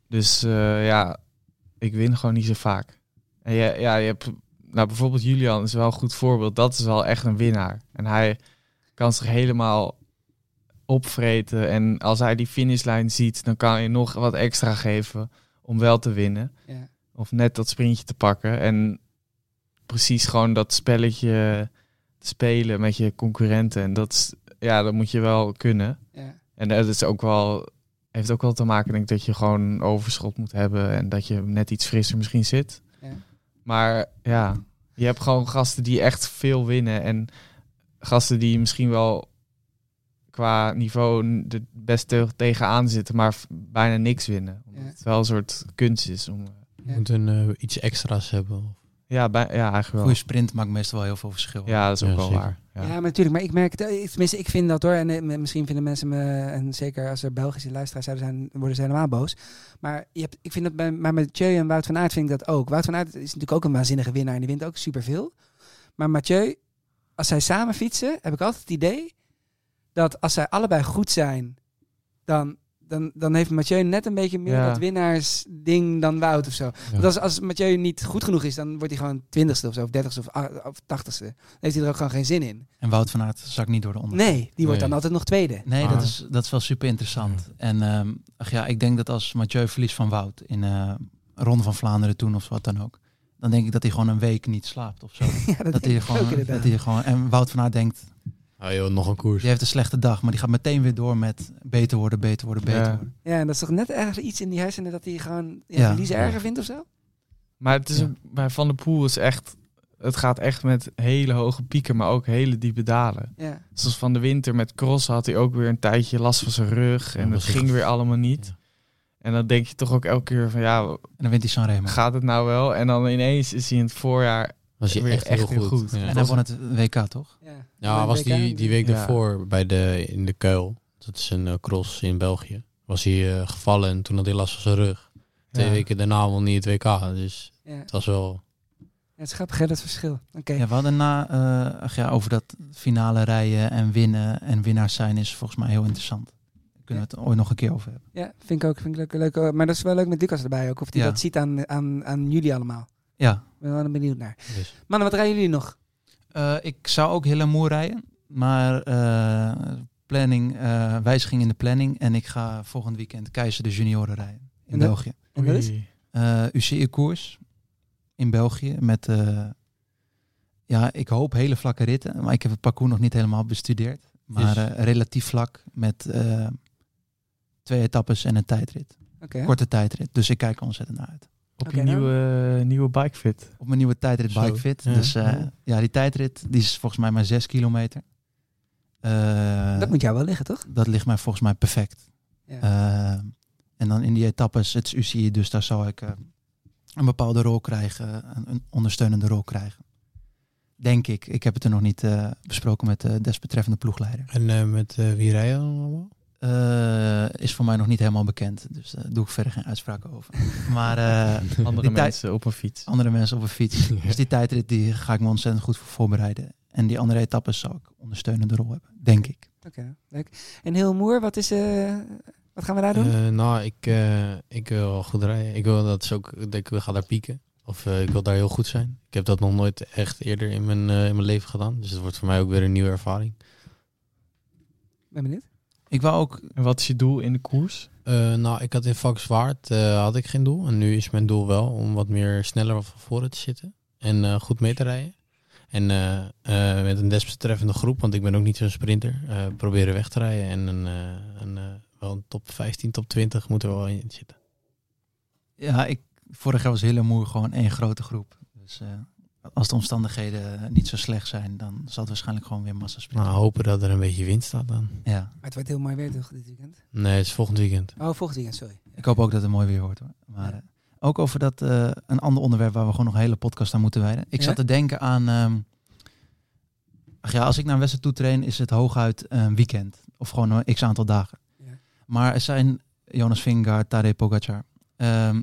E: Dus eh, ja, ik win gewoon niet zo vaak. En ja, ja, je hebt, nou bijvoorbeeld Julian is wel een goed voorbeeld. Dat is wel echt een winnaar. En hij kan zich helemaal opvreten. En als hij die finishlijn ziet, dan kan hij nog wat extra geven om wel te winnen.
A: Ja.
E: Of net dat sprintje te pakken. En precies gewoon dat spelletje te spelen met je concurrenten. En dat, is, ja, dat moet je wel kunnen.
A: Ja.
E: En dat is ook wel, heeft ook wel te maken, denk ik, dat je gewoon overschot moet hebben. En dat je net iets frisser misschien zit.
A: Ja.
E: Maar ja, je hebt gewoon gasten die echt veel winnen. En gasten die misschien wel qua niveau n- er best te- tegenaan zitten, maar f- bijna niks winnen. Omdat
A: Ja.
E: het wel een soort kunst is om.
B: Je moet een, eh, iets extra's hebben.
E: Ja, bij, ja eigenlijk wel.
I: Goede sprint maakt meestal wel heel veel verschil.
E: Ja, dat is ook
B: Ja,
E: wel
B: zeker.
E: waar.
A: Ja.
E: Ja.
A: maar natuurlijk. Maar ik merk, het- eh, tenminste, ik vind dat hoor. En eh, misschien vinden mensen me, en zeker als er Belgische luisteraars zouden zijn, worden ze helemaal boos. Maar je hebt, ik vind dat bij, maar met Mathieu en Wout van Aert vind ik dat ook. Wout van Aert is natuurlijk ook een waanzinnige winnaar en die wint ook superveel. Maar Mathieu, als zij samen fietsen, heb ik altijd het idee dat als zij allebei goed zijn, dan dan, dan heeft Mathieu net een beetje meer
E: Ja.
A: dat winnaarsding dan Wout of zo. Want als, als Mathieu niet goed genoeg is, dan wordt hij gewoon twintigste of zo, of dertigste of, a- of tachtigste. Dan heeft hij er ook gewoon geen zin in.
I: En Wout van Aert zakt niet door de onder.
A: Nee, die wordt dan altijd nog tweede.
I: Nee,
A: Ah.
I: dat, is, dat is wel super interessant. En ehm, ach ja, ik denk dat als Mathieu verliest van Wout in eh Ronde van Vlaanderen toen of wat dan ook. Dan denk ik dat hij gewoon een week niet slaapt of zo.
A: dat
I: dat, hij
B: denk ik ook
I: gewoon,
B: inderdaad.
I: dat hij gewoon. En Wout van Aert denkt.
B: Ah joh, nog een koers.
I: Die heeft een slechte dag, maar die gaat meteen weer door met beter worden, beter worden, beter
E: Ja.
I: worden.
A: Ja, en dat is toch net ergens iets in die hersenen dat hij gewoon ja,
I: Ja.
A: verliezen erger vindt of zo?
E: Maar, het is een- maar Van der Poel is echt... Het gaat echt met hele hoge pieken, maar ook hele diepe dalen.
A: Ja.
E: Zoals van de winter met crossen had hij ook weer een tijdje last van zijn rug. En
I: dat
E: dat
I: was
E: ging weer allemaal niet. En dan denk je toch ook elke keer van ja... En
I: dan wint hij Sanremo.
E: Gaat het nou wel? En dan ineens is hij in het voorjaar
B: Was hij
E: weer
B: echt heel goed. Ja.
I: En hij won het WK toch?
B: Ja, was die, die week
E: Ja.
B: daarvoor bij de, in de Kuil. Dat is een eh, cross in België. Was hij eh, gevallen en toen had hij last van zijn rug. Twee
A: Ja.
B: weken daarna won hij het WK. Dus
A: Ja.
B: het was wel...
A: Ja, het is grappig hè, dat verschil. Oké.
I: Ja, we hadden na, eh, ach ja, over dat finale rijden en winnen en winnaars zijn is volgens mij heel interessant. Daar kunnen we het ooit nog een keer over hebben.
A: Ja, vind ik ook. Vind ik leuk, leuk. Maar dat is wel leuk met Lucas erbij ook. Of hij
I: Ja.
A: dat ziet aan, aan, aan jullie allemaal.
I: Ja.
A: Ik ben wel benieuwd naar.
B: Dus.
A: Mannen, wat rijden jullie nog?
I: Eh, ik zou ook heel moe rijden, maar eh, planning, eh, wijziging in de planning. En ik ga volgend weekend Keizer de Junioren rijden in
A: En dat-
I: België.
A: en dat is?
I: Eh, UCI-koers in België met, eh, ja, ik hoop hele vlakke ritten. Maar ik heb het parcours nog niet helemaal bestudeerd. Maar
A: Is-
I: eh, relatief vlak met eh, twee etappes en een tijdrit.
A: Oké.
I: Korte tijdrit, dus ik kijk er ontzettend naar uit.
E: Op je nieuwe, nieuwe bikefit.
I: Op mijn nieuwe tijdrit
E: Zo,
I: bikefit.
E: ja.
I: Dus eh,
E: Ja.
I: ja, die tijdrit die is volgens mij maar 6 kilometer. Eh,
A: Dat moet jou wel liggen, toch?
I: Dat ligt mij volgens mij perfect.
A: Ja.
I: Eh, en dan in die etappes, het is UCI, dus daar zal ik eh, een bepaalde rol krijgen, een, een ondersteunende rol krijgen. Denk ik. Ik heb het er nog niet eh, besproken met de desbetreffende ploegleider.
B: En eh, met eh, wie rijden we allemaal?
I: Eh, is voor mij nog niet helemaal bekend, dus daar doe ik verder geen uitspraken over. Maar eh,
E: Andere
I: die tij-
E: mensen op een fiets.
I: Andere mensen op een fiets. Dus die tijdrit die ga ik me ontzettend goed voor voorbereiden. En die andere etappes zal ik ondersteunende rol hebben, denk ik.
A: Oké, leuk. En heel moer, wat, is, eh, wat gaan we daar doen?
B: Eh, nou, ik, eh, ik wil wel goed rijden. Ik wil dat ze ook... Ik denk, we gaan daar pieken. Of eh, ik wil daar heel goed zijn. Ik heb dat nog nooit echt eerder in mijn, eh, in mijn leven gedaan. Dus het wordt voor mij ook weer een nieuwe ervaring.
A: ben benieuwd.
I: Ik wou ook...
E: En wat is je doel in de koers?
B: Eh, nou, ik had in Vakswaard eh had ik geen doel. En nu is mijn doel wel om wat meer sneller van voren te zitten. En eh, goed mee te rijden. En eh, eh, met een desbetreffende groep, want ik ben ook niet zo'n sprinter, eh, proberen weg te rijden. En een, eh, een, eh, wel een top 15, top 20 moet er wel in zitten.
I: Ja, ik, vorig jaar was heel moe gewoon één grote groep. Dus eh, als de omstandigheden niet zo slecht zijn, dan zal het waarschijnlijk gewoon weer massa spelen.
B: Nou, hopen dat er een beetje wind staat dan.
I: Ja,
A: Maar het wordt heel mooi weer toch dit weekend?
B: Nee, het is volgend weekend.
A: Oh, volgend weekend, sorry.
I: ik hoop ook dat het mooi weer wordt. Hoor. Maar eh, ook over dat eh, een ander onderwerp waar we gewoon nog een hele podcast aan moeten wijden. Ik
A: Ja?
I: zat te denken aan... ehm, ach ja, als ik naar een wedstrijd toe train, is het hooguit een weekend. Of gewoon een x-aantal dagen. Maar er zijn Jonas Vingegaard, Tadej Pogacar... ehm,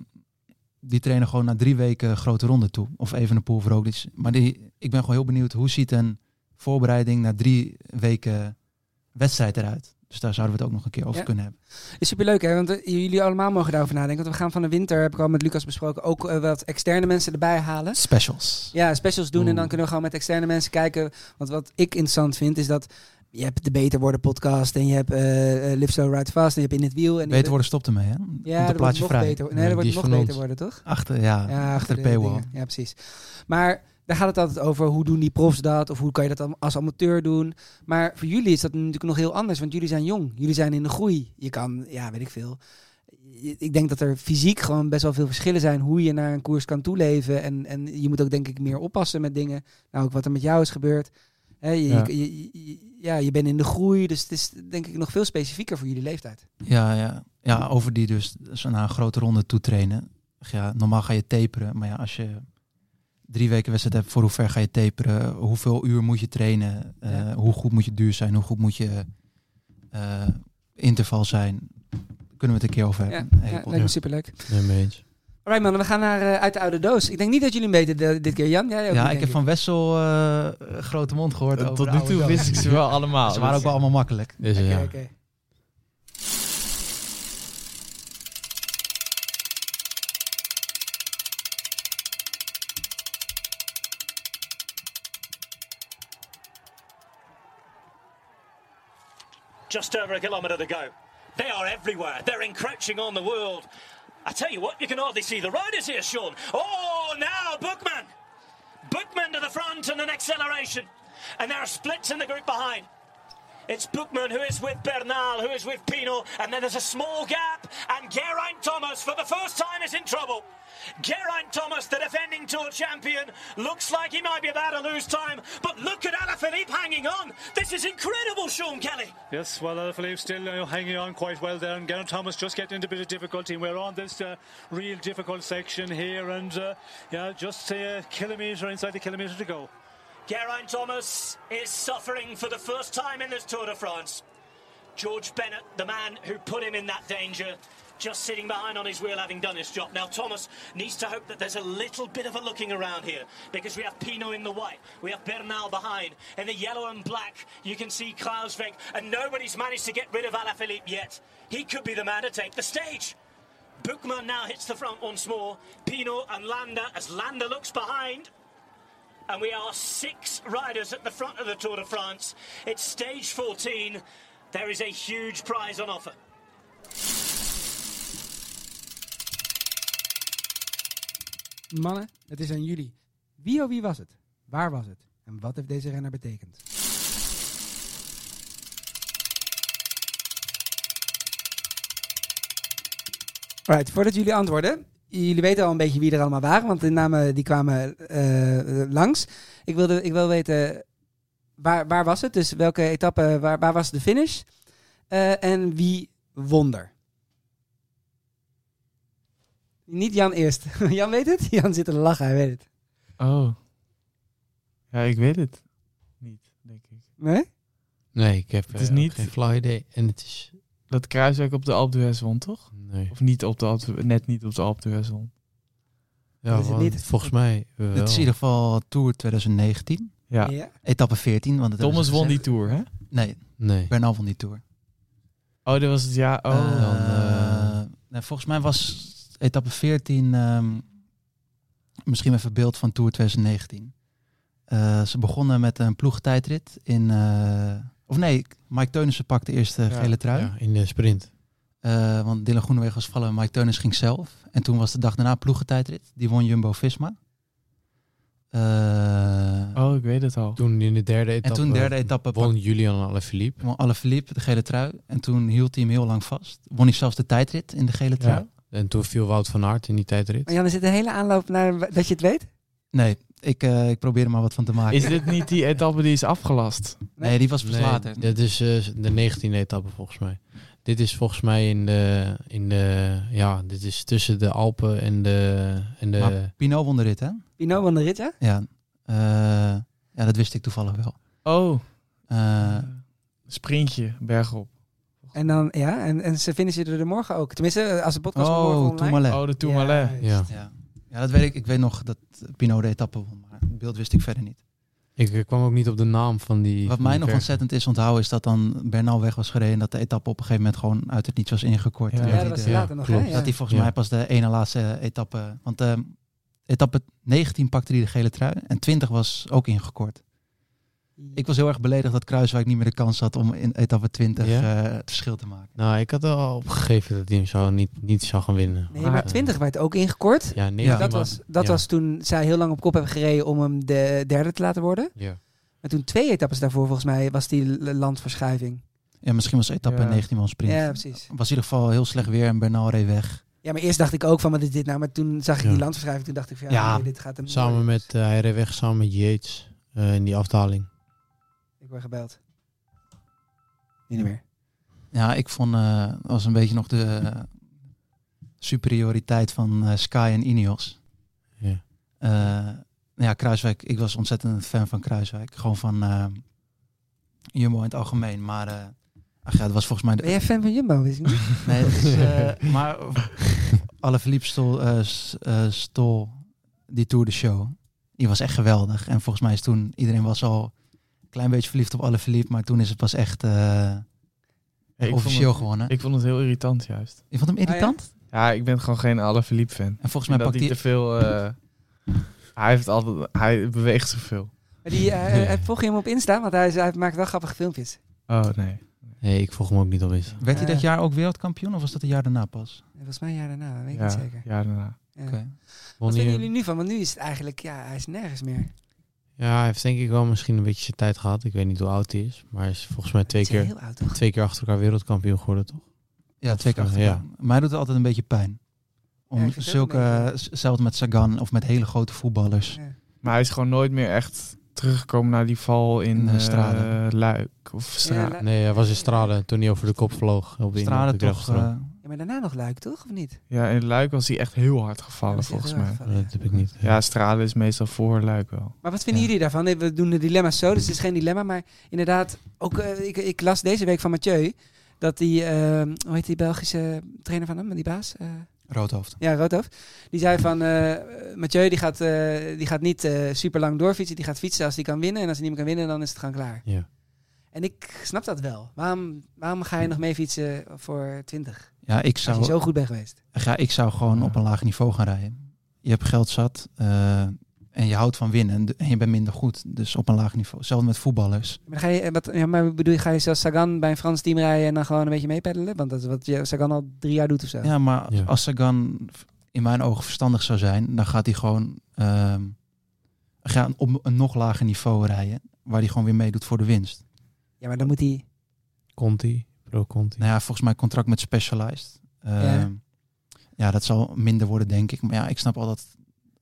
I: die trainen gewoon na drie weken grote ronde toe. Of even een pool voor Roglic. Maar die, ik ben gewoon heel benieuwd, hoe ziet een voorbereiding na drie weken wedstrijd eruit? Dus daar zouden we het ook nog een keer over
A: Ja.
I: kunnen hebben.
A: Is superleuk, hè? Want eh, jullie allemaal mogen daarover nadenken. Want we gaan van de winter, heb ik al met Lucas besproken, ook eh, wat externe mensen erbij halen.
I: Specials.
A: Ja, specials doen en dan kunnen we gewoon met externe mensen kijken. Want wat ik interessant vind is dat je hebt de Beter Worden podcast en je hebt eh eh, Live Slow Ride Fast en je hebt In het Wiel. En
I: Beter worden stopt ermee, hè?
A: Ja,
I: Komt
A: dat
I: een
A: wordt
I: plaatje
A: nog
I: vrij.
A: beter. Nee, dat wordt nog beter worden, toch?
I: Achter, ja, achter, de
A: de
I: paywall.
A: dingen. Ja, precies. Maar daar gaat het altijd over hoe doen die profs dat of hoe kan je dat dan als amateur doen. Maar voor jullie is dat natuurlijk nog heel anders, want jullie zijn jong. Jullie zijn in de groei. Je kan, ja, weet ik veel. Je- Ik denk dat er fysiek gewoon best wel veel verschillen zijn hoe je naar een koers kan toeleven. En, en je moet ook denk ik meer oppassen met dingen. Nou, ook wat er met jou is gebeurd. Hè, je,
I: Ja.
A: je- je- je- ja, je bent in de groei, dus het is denk ik nog veel specifieker voor jullie leeftijd.
I: Ja, ja. ja, over die dus zo naar een grote ronde toe trainen. Ach Ja, normaal ga je taperen, maar ja, als je drie weken wedstrijd hebt, voor hoe ver ga je taperen? Hoeveel uur moet je trainen? Eh,
A: Ja.
I: Hoe goed moet je duur zijn? Hoe goed moet je eh, interval zijn? Kunnen we het een keer over
A: Ja,
I: hebben?
A: ja,
I: Hele
A: lijkt me
I: podcast.
A: superleuk.
B: Nee, mee eens.
A: Alright man, we gaan naar eh, uit de oude doos. Ik denk niet dat jullie hem weten de- dit keer, Jan. Jij ook niet,
I: Ja, ik
A: denk
I: heb van Wessel eh, grote mond gehoord.
E: Eh,
I: over
E: tot
I: de
E: nu
I: oude
E: toe
I: doos.
E: wist ik ze wel allemaal. dus
I: ze waren ook wel allemaal makkelijk.
B: Dus, eh, ja.
A: Oké.
M: Just over a kilometre to go. They are everywhere. They're encroaching on the world. I tell you what, you can hardly see the riders here, Sean. Oh, now Bookman! Bookman to the front and an acceleration. And there are splits in the group behind. It's Bookman who is with Bernal, who is with Pino, and then there's a small gap, and Geraint Thomas, for the first time, is in trouble. Geraint Thomas, the defending Tour champion, looks like he might be about to lose time, but look at Alaphilippe hanging on. This is incredible, Sean Kelly.
N: Yes, well, Alaphilippe still uh, hanging on quite well there, and Geraint Thomas just getting into a bit of difficulty. We're on this uh, real difficult section here, and uh, yeah, just a kilometre inside the kilometre to go.
M: Geraint Thomas is suffering for the first time in this Tour de France. George Bennett, the man who put him in that danger, just sitting behind on his wheel having done his job. Now, Thomas needs to hope that there's a little bit of a looking around here because we have Pino in the white, we have Bernal behind. In the yellow and black, you can see Krausweg, and nobody's managed to get rid of Alaphilippe yet. He could be the man to take the stage. Bookman now hits the front once more. Pino and Landa, as Landa looks behind, and we are six riders at the front of the Tour de France. It's stage 14. There is a huge prize on offer.
A: Mannen, het is aan jullie. Wie of wie was het? Waar was het? En wat heeft deze renner betekend? Alright, voordat jullie antwoorden. Jullie weten al een beetje wie er allemaal waren, want de namen die kwamen eh, langs. Ik, wilde, ik wil weten, waar, waar was het? Dus welke etappe, waar, waar was de finish? Eh, en wie won er? Niet Jan eerst. Jan weet het? Jan zit te lachen, hij weet het.
E: Oh. Ja, ik weet het.
A: Nee?
B: Nee, ik heb
E: Het is
B: eh,
E: niet-
B: geen flauw idee. En het is
E: Dat Kruiswijk op de Alpe d'Huez won, toch?
B: Nee.
E: Of niet op de Alpe, d'Hu- net niet op de Alpe d'Huez won.
B: Ja, Is het want niet? volgens mij wel.
E: Dat
I: Dit is in ieder geval Tour 2019.
E: Ja. Ja.
I: Etappe 14. Want dat
E: Thomas
I: hebben ze
E: won die
I: gezegd.
E: Tour, hè?
I: Nee.
B: nee.
I: Bernal won die Tour.
E: Oh, dat was het ja. Oh.
I: Eh, nou, volgens mij was etappe 14 ehm, misschien even beeld van Tour 2019. Eh, ze begonnen met een ploegtijdrit in... eh, of nee, Mike Teunissen pakte eerst de
B: Ja.
I: gele trui.
B: Ja, in de sprint.
I: Eh, want Dylan Groenewegen was vallen, Mike Teunis ging zelf. En toen was de dag daarna ploegentijdrit. Die won Jumbo-Visma. Eh,
E: oh, ik weet het al.
B: Toen in de derde
I: En
B: etappe.
I: toen derde etappe
B: Won Julian Alaphilippe.
I: Won Alaphilippe de gele trui. En toen hield hij hem heel lang vast. Won hij zelfs de tijdrit in de gele trui.
B: En toen viel Wout van Aert in die tijdrit.
A: Maar Jan, is het een hele aanloop naar dat je het weet?
I: Nee, ik, eh, ik probeer er maar wat van te maken.
E: Is dit niet die etappe die is afgelast?
I: Nee, die was pas later.
B: Dit is eh, de 19e etappe volgens mij. Dit is volgens mij in de, in de ja, dit is tussen de Alpen en de, en de
I: Maar Pinot won de rit, hè?
A: Pino van de rit, ja?
I: Ja. Eh, ja, dat wist ik toevallig wel. Eh,
E: Oh.
I: Sprintje bergop.
A: En dan, ja, en, en ze vinden ze er morgen ook. Tenminste, eh, als de podcast morgen
I: Oh,
A: online...
I: Tourmalet.
A: Ja, juist.
I: Ja. Ja. ja, dat weet ik. Ik weet nog dat Pinot de etappe won. Maar het beeld wist ik verder niet.
B: Ik eh, kwam ook niet op de naam van die.
I: Wat
B: van
I: mij
B: die
I: nog
B: berg.
I: ontzettend is onthouden is dat dan Bernal weg was gereden. En dat de etappe op een gegeven moment gewoon uit het niets was ingekort.
B: Ja,
I: En
B: ja,
I: hij
B: dat was
I: de-
B: later nog, hè? Klopt.
I: Dat hij volgens
B: Ja.
I: mij pas de ene laatste etappe... Want eh, etappe 19 pakte hij de gele trui. En 20 was ook ingekort. Ik was heel erg beledigd dat Kruiswijk niet meer de kans had om in etappe 20
B: Ja?
I: eh, het verschil te maken.
B: Nou, ik had al opgegeven dat hij hem zou niet, niet zou gaan winnen. eh,
A: Nee, maar 20 werd ook ingekort.
B: Ah.
A: Dus
B: Ja, nee,
A: Dat,
B: maar-
A: was, dat
B: ja.
A: was toen zij heel lang op kop hebben gereden om hem de derde te laten worden.
B: Ja.
A: Maar toen twee etappes daarvoor, volgens mij, was die l- landverschuiving.
I: Ja, misschien was etappe
A: Ja.
I: 19 wel een sprint.
A: Ja, precies.
I: Was in ieder geval heel slecht weer en Bernal reed weg.
A: Ja, maar eerst dacht ik ook van, wat is dit nou? Maar toen zag ik
B: Ja.
A: die landverschuiving, toen dacht ik van, ja, nee, dit gaat hem...
B: samen met, eh, hij reed weg samen met Yates eh, in die afdaling.
A: Ik word gebeld.
I: Niet meer. Ja, ik vond eh, dat was een beetje nog de eh, superioriteit van eh, Sky en Ineos.
B: Ja.
I: Eh, nou ja, Kruiswijk, ik was ontzettend een fan van Kruiswijk. Gewoon van eh, Jumbo in het algemeen. Maar eh ach ja, dat was volgens mij de
A: Ben jij fan van Jumbo, wist ik niet?
I: Nee, dat is, eh, maar Alaphilippe stol, eh, s- eh, stol die Tour de Show. Die was echt geweldig. En volgens mij is toen, iedereen was al een klein beetje verliefd op Alaphilippe. Maar toen is het pas echt eh,
E: Ja, ik vond
I: officieel
E: het-
I: gewonnen.
E: Ik vond het heel irritant juist.
I: Je vond
A: Ah,
I: hem irritant?
E: ja? ik ben gewoon geen Alaphilippe fan.
I: En volgens mij
E: dat
I: pakt
E: hij
I: hij-
E: te veel. eh, hij heeft altijd. Hij beweegt zoveel.
A: eh, Maar die, eh, eh, volg je hem op Insta? Want hij, is- hij maakt wel grappige filmpjes.
E: Oh nee.
B: Nee, ik volg hem ook niet op Insta.
I: Werd hij
A: Eh.
I: dat jaar ook wereldkampioen of was dat het jaar daarna pas?
A: Dat was mijn jaar daarna, dat weet ik
I: Ja,
A: niet zeker.
E: jaar daarna.
A: Ja.
I: Oké.
A: Wat vinden
B: Wanneer-
A: jullie nu van? Want nu is het eigenlijk, ja, hij is nergens meer.
B: Ja, hij heeft denk ik wel misschien een beetje zijn tijd gehad. Ik weet niet hoe oud hij is, maar hij is volgens mij twee
A: Hij is
B: keer,
A: heel oud, toch?
B: twee keer achter elkaar wereldkampioen geworden, toch?
I: Ja,
B: Of,
I: twee keer
B: eh,
I: achter elkaar. Maar hij doet het altijd een beetje
A: Ja,
I: pijn. Om
A: ik vind het ook
I: zulke, eh, s- zelfs met Sagan of met hele grote voetballers.
E: Maar hij is gewoon nooit meer echt teruggekomen naar die val in
I: Eh,
E: eh
I: Strade.
E: Luik of Strade.
A: Lu-
B: Nee, hij was in Strade toen hij over de kop vloog. Op de
E: Strade
B: op de
E: toch,
B: Grefstroom.
E: eh,
A: Ja, maar daarna nog Luik, toch? Of niet?
E: Ja, in Luik was hij echt heel hard gevallen,
A: Ja, was hij
E: volgens
A: heel
E: mij.
A: hard
B: dat heb ik niet.
E: Ja, Stralen is meestal voor Luik wel.
A: Maar wat vinden jullie daarvan? Nee, We doen de dilemma's zo, dus het is geen dilemma. Maar inderdaad, ook, eh, ik, ik las deze week van Mathieu... dat die, eh, hoe heet die Belgische trainer van hem, die baas? Eh,
I: Roodhoofd.
A: Ja, Roodhoofd. Die zei van, eh Mathieu die gaat, eh, die gaat niet super lang doorfietsen. Die gaat fietsen als hij kan winnen. En als hij niet meer kan winnen, dan is het gewoon klaar.
B: Ja.
A: En ik snap dat wel. Waarom, waarom ga je nog mee fietsen voor 20?
I: Ja, ik zou,
A: Als je zo goed bent geweest.
I: Ja, ik zou gewoon op een laag niveau gaan rijden. Je hebt geld zat eh, en je houdt van winnen en de- en je bent minder goed. Dus op een laag niveau. Hetzelfde met voetballers.
A: Maar, dan ga je, eh, wat, ja, maar bedoel je, ga je zelfs Sagan bij een Frans team rijden en dan gewoon een beetje meepeddelen? Want dat is wat je- Sagan al drie jaar doet of zo.
I: Ja, maar
B: Ja.
I: als Sagan v- in mijn ogen verstandig zou zijn, dan gaat hij gewoon ehm, gaan op een nog lager niveau rijden. Waar hij gewoon weer meedoet voor de winst.
A: Ja, maar dan moet hij...
B: Conti, Pro Conti.
I: Nou ja, volgens mij contract met Specialized. Ehm,
A: Ja.
I: ja. dat zal minder worden, denk ik. Maar ja, ik snap al dat,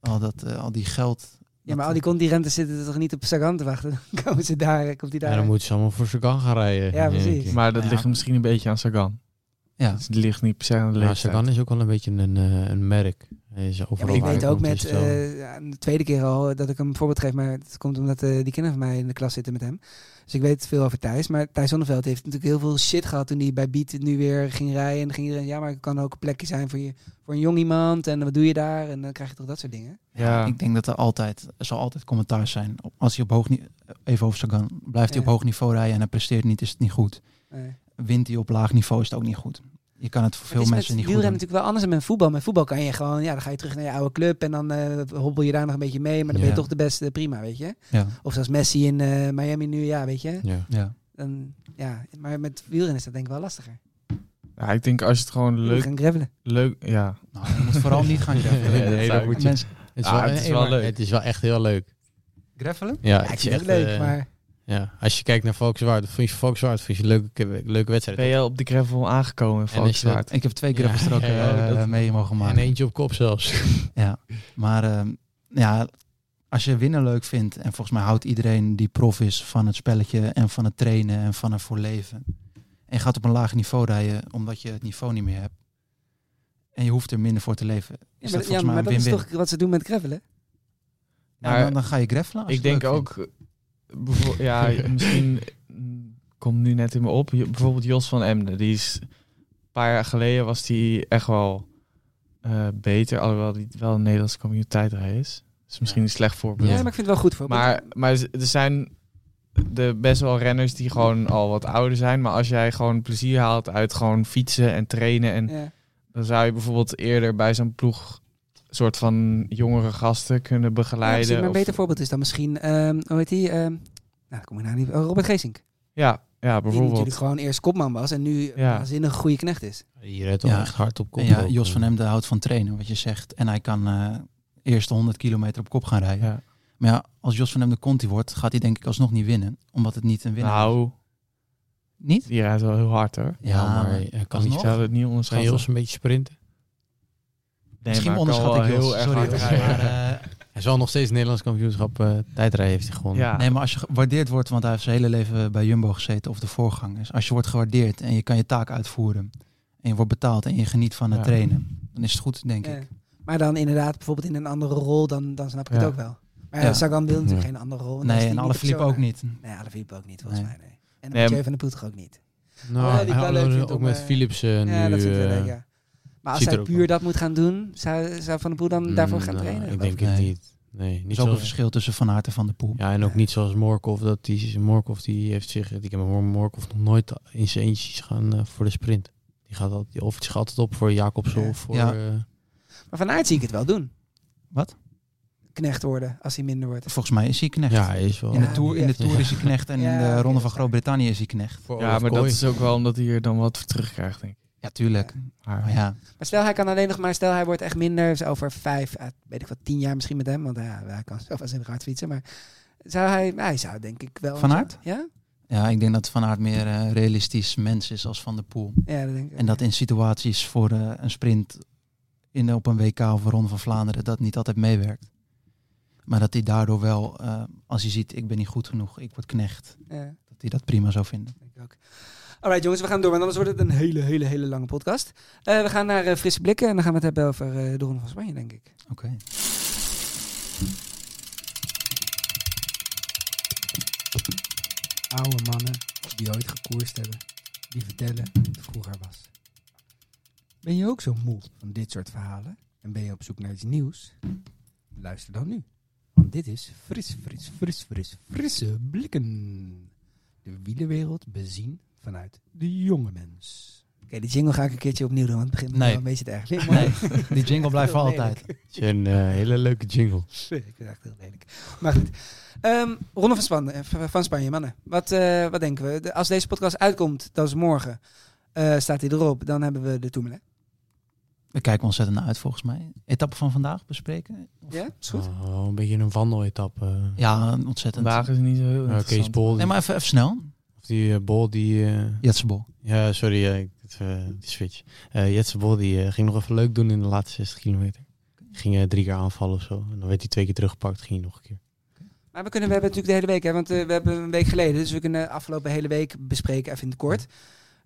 I: al, dat, eh, al die geld.
A: Ja,
B: eh,
A: maar al die contirenten zitten toch niet op Sagan te wachten? Dan komen ze daar, komt hij daar.
B: Ja, dan moet ze allemaal voor Sagan gaan rijden.
A: Eh, Ja,
B: in één
A: precies.
B: keer.
E: Maar dat
A: Ja.
E: ligt misschien een beetje aan Sagan.
I: Ja.
E: Dus het ligt niet per se aan de
B: Maar
E: leeftijd.
B: Sagan is ook wel een beetje een, eh, een merk. Hij is
A: Ja,
B: overal
A: maar ik
B: waar
A: weet
B: hij
A: ook
B: komt,
A: met,
B: is hij
A: eh, ja, de tweede keer al, eh, dat ik hem een voorbeeld geef, maar het komt omdat eh, die kinderen van mij in de klas zitten met hem. Dus ik weet veel over Thijs, maar Thijs Zonneveld heeft natuurlijk heel veel shit gehad toen hij bij Beat nu weer ging rijden. En dan ging iedereen, ja, maar het kan ook een plekje zijn voor, je, voor een jong iemand en wat doe je daar? En dan krijg je toch dat soort dingen.
E: Ja.
I: Ik denk dat er altijd, er zal altijd commentaar zijn. Op- Als hij op hoog niveau, even over Sagan, blijft hij
A: Ja.
I: op hoog niveau rijden en hij presteert niet, is het niet goed.
A: Nee.
I: Wint hij op laag niveau, is het ook niet goed. Je kan het voor
A: Het
I: veel
A: is
I: mensen
A: met
I: niet goed doen.
A: natuurlijk wel anders dan met voetbal. Met voetbal kan je gewoon, ja, dan ga je terug naar je oude club en dan eh, hobbel je daar nog een beetje mee, maar dan ben je
I: Ja.
A: toch de beste, prima, weet je.
I: Ja.
A: Of zoals Messi in eh, Miami nu, ja, weet je.
B: Ja.
I: Ja.
A: Dan, ja, maar met wielrennen is dat denk ik wel lastiger.
E: Ja, ik denk als je het gewoon
A: We
E: leuk...
A: gaan gravelen.
E: Leuk, ja.
I: Nou, je moet vooral niet gaan gravelen.
B: Nee,
E: dat
B: nee,
E: zou
B: dat
E: ik
B: moet
E: niet.
B: je.
I: Mensen,
B: Het is
E: Ah,
B: wel,
E: het
B: nee,
E: is wel
B: maar
E: leuk.
B: Het is wel echt heel leuk.
I: Gravelen?
B: Ja,
A: Ja, ik
B: het is
A: vind het
B: echt
A: leuk,
B: eh,
A: maar...
B: Ja, als je kijkt naar Volkswaard, vond je Volkswaard vond je een leuke, leuke wedstrijd.
E: Ben je op de gravel aangekomen,
B: En als je dat-
E: Valkswaard?
I: Ik heb twee
B: Ja,
I: grappige strokken
B: ja, ja,
I: eh,
B: dat-
I: mee mogen
B: En
I: maken.
B: eentje op kop zelfs.
I: Ja. Maar ehm, ja, als je winnen leuk vindt, en volgens mij houdt iedereen die prof is van het spelletje en van het trainen en van het voor leven. En je gaat op een laag niveau rijden omdat je het niveau niet meer hebt. En je hoeft er minder voor te leven.
A: Ja,
I: Is
A: maar,
I: dat volgens
A: ja, maar
I: mij
A: dat
I: een
A: is
I: win-win.
A: toch wat ze doen met gravelen?
I: Ja,
E: Maar
I: dan, dan ga je greffelen. als
E: Ik
I: je het
E: denk
I: leuk vindt.
E: ook... eh, bijvo- Ja, misschien mm, komt nu net in me op. Je- Bijvoorbeeld Jos van Emden. Die is... Een paar jaar geleden was die echt wel eh, beter. Alhoewel die wel een Nederlandse communiteit is. Dus misschien een slecht voorbeeld.
A: Ja, maar ik vind het wel goed voor.
E: Maar, maar z- er zijn de best wel renners die gewoon al wat ouder zijn. Maar als jij gewoon plezier haalt uit gewoon fietsen en trainen. En
A: Ja.
E: dan zou je bijvoorbeeld eerder bij zo'n ploeg soort van jongere gasten kunnen
A: Ja, precies,
E: begeleiden.
A: maar een
E: of-
A: beter voorbeeld is dan misschien, ehm, hoe heet die? ehm, nou, kom ik nou niet. oh, Robert Geesink.
E: ja, ja,
A: Die natuurlijk
E: bijvoorbeeld.
A: gewoon eerst kopman was en nu
E: Ja.
A: waanzinnig goede knecht is.
B: Je rijdt toch
I: Ja.
B: echt hard op kop.
I: En ja,
B: ook.
I: Jos van Hemden houdt van trainen, wat je zegt. En hij kan eh eerst de 100 kilometer op kop gaan rijden.
E: Ja.
I: Maar ja, als Jos van Hemden Conti wordt, gaat hij denk ik alsnog niet winnen. Omdat het niet een winnaar is.
E: Nou,
I: Niet?
E: die rijdt wel heel hard hoor.
B: Ja, maar hij kan
I: alsnog.
B: niet
E: Ik zou het niet
B: Ga
E: onderschatten.
B: Jos een beetje sprinten?
E: Nee,
I: Misschien
E: maar kan
I: onderschat ik
E: wel
I: Jos.
E: heel erg
I: Sorry,
E: hard
I: Jos,
E: rijden.
I: maar, eh,
B: Hij zal nog steeds het Nederlands kampioenschap eh tijdrijden heeft hij gewonnen.
E: Ja.
I: Nee, maar als je gewaardeerd wordt, want hij heeft zijn hele leven bij Jumbo gezeten of de voorgangers. Als je wordt gewaardeerd en je kan je taak uitvoeren en je wordt betaald en je geniet van het
E: Ja.
I: trainen, dan is het goed, denk
A: Ja.
I: ik.
A: Maar dan inderdaad bijvoorbeeld in een andere rol, dan, dan snap ik
E: Ja.
A: het ook wel. Maar ja,
I: Ja.
A: Sagan wil natuurlijk
B: Ja.
A: geen andere rol. want dan is
I: Nee,
A: die niet
I: en alle
A: de
I: Filip
A: persoon.
I: ook niet.
A: Nee, alle Filip ook niet, volgens
I: Nee.
A: mij. Nee. En
E: Nee,
A: Mathieu van de Poel toch ook niet.
B: Nou,
A: Oh, die ik
B: hij
A: wel leuk
B: had
A: vind
B: ook
A: om,
B: met
A: eh,
B: Philips eh, nu.
A: ja, dat vind ik wel
B: eh,
A: leuk, ja. Maar als
B: ziet er
A: hij
B: ook
A: puur
B: wel.
A: dat moet gaan doen, zou, zou Van de Poel dan daarvoor gaan
B: nou,
A: trainen?
B: Ik
A: geloof
B: denk
A: ik.
B: het
I: Nee.
B: niet. Nee,
I: Er is
B: niet
I: ook een
B: zo.
I: verschil tussen Van Aert en Van der Poel.
B: Ja, en ook niet zoals Morkov. Dat die, Morkov die heeft zich, ik heb Morkov nog nooit in zijn eentjes gaan eh, voor de sprint. Die gaat altijd, of die gaat altijd op voor Jacobsen
A: Ja.
B: of voor...
I: Ja.
B: eh,
A: Maar Van Aert zie ik het wel doen.
I: Wat?
A: knecht worden als hij minder wordt.
I: Volgens mij is hij knecht.
B: Ja, hij is wel.
I: In de
A: Ja,
I: Tour,
A: die
I: in de
A: is-
I: tour is hij knecht en
A: Ja,
I: in
A: oké,
I: de
A: dat
I: Ronde
A: is
I: van Groot-Brittannië is hij knecht.
B: Voor
E: Ja, maar dat is ook wel omdat hij er dan wat voor terugkrijgt, denk ik.
I: Ja, tuurlijk. Maar ja.
A: Maar stel hij kan alleen nog maar, stel hij wordt echt minder, dus over vijf, eh, weet ik wat, tien jaar misschien met hem, want ja, hij kan zelf als in hard fietsen, maar zou hij, nou, hij zou denk ik wel.
I: Van Aert?
A: Ja?
I: Ja, ik denk dat Van Aert meer eh, realistisch mens is als Van der Poel.
A: Ja, dat denk ik.
I: En dat in situaties voor eh, een sprint in, op een WK of een Ronde van Vlaanderen dat niet altijd meewerkt. Maar dat hij daardoor wel, eh, als hij ziet, ik ben niet goed genoeg, ik word knecht.
A: Ja.
I: Dat hij dat prima zou vinden.
A: Alright jongens, we gaan door, want anders wordt het een hele, hele, hele lange podcast. Eh, we gaan naar eh, frisse blikken en dan gaan we het hebben over eh, de Ronde van Spanje, denk ik.
I: Oké.
A: Oude mannen die ooit gekoerst hebben, die vertellen hoe het vroeger was. Ben je ook zo moe van dit soort verhalen en ben je op zoek naar iets nieuws? Luister dan nu, want dit is fris, fris, fris, fris, frisse blikken. De wielerwereld bezien vanuit de jonge mens. Oké, die jingle ga ik een keertje opnieuw doen, want het begint me
I: Nee.
A: wel een beetje te erg. Vind je
I: Nee,
A: het mooi?
I: die jingle blijft voor
A: Heel lelijk.
I: altijd.
B: Het is een eh, hele leuke jingle.
A: Ik vind het echt heel lelijk. Maar goed. Ehm, Ronde van Spanje, van Spanje mannen. Wat, eh, wat denken we? De- als deze podcast uitkomt, dat is morgen, eh, staat hij erop. Dan hebben we de Tourmalet.
I: We kijken ontzettend naar uit volgens mij. Etappe van vandaag bespreken?
A: Ja, is goed.
B: Oh, een beetje een wandel-etappe.
I: Ja, ontzettend.
E: Vandaag is niet zo heel
B: Ja,
E: interessant.
B: Kees Bol. die-
I: Nee, maar even, even snel.
B: Of die eh, Bol die... eh
I: Jetse Bol.
B: Ja, sorry, eh, ik- het, eh, die switch. Eh Jetse Bol die eh, ging nog even leuk doen in de laatste 60 kilometer. Ging eh, drie keer aanvallen of zo. En dan werd hij twee keer teruggepakt, ging hij nog een keer.
A: Maar we, kunnen, we hebben natuurlijk de hele week, hè, want eh, we hebben een week geleden. Dus we kunnen de afgelopen hele week bespreken, even in het kort.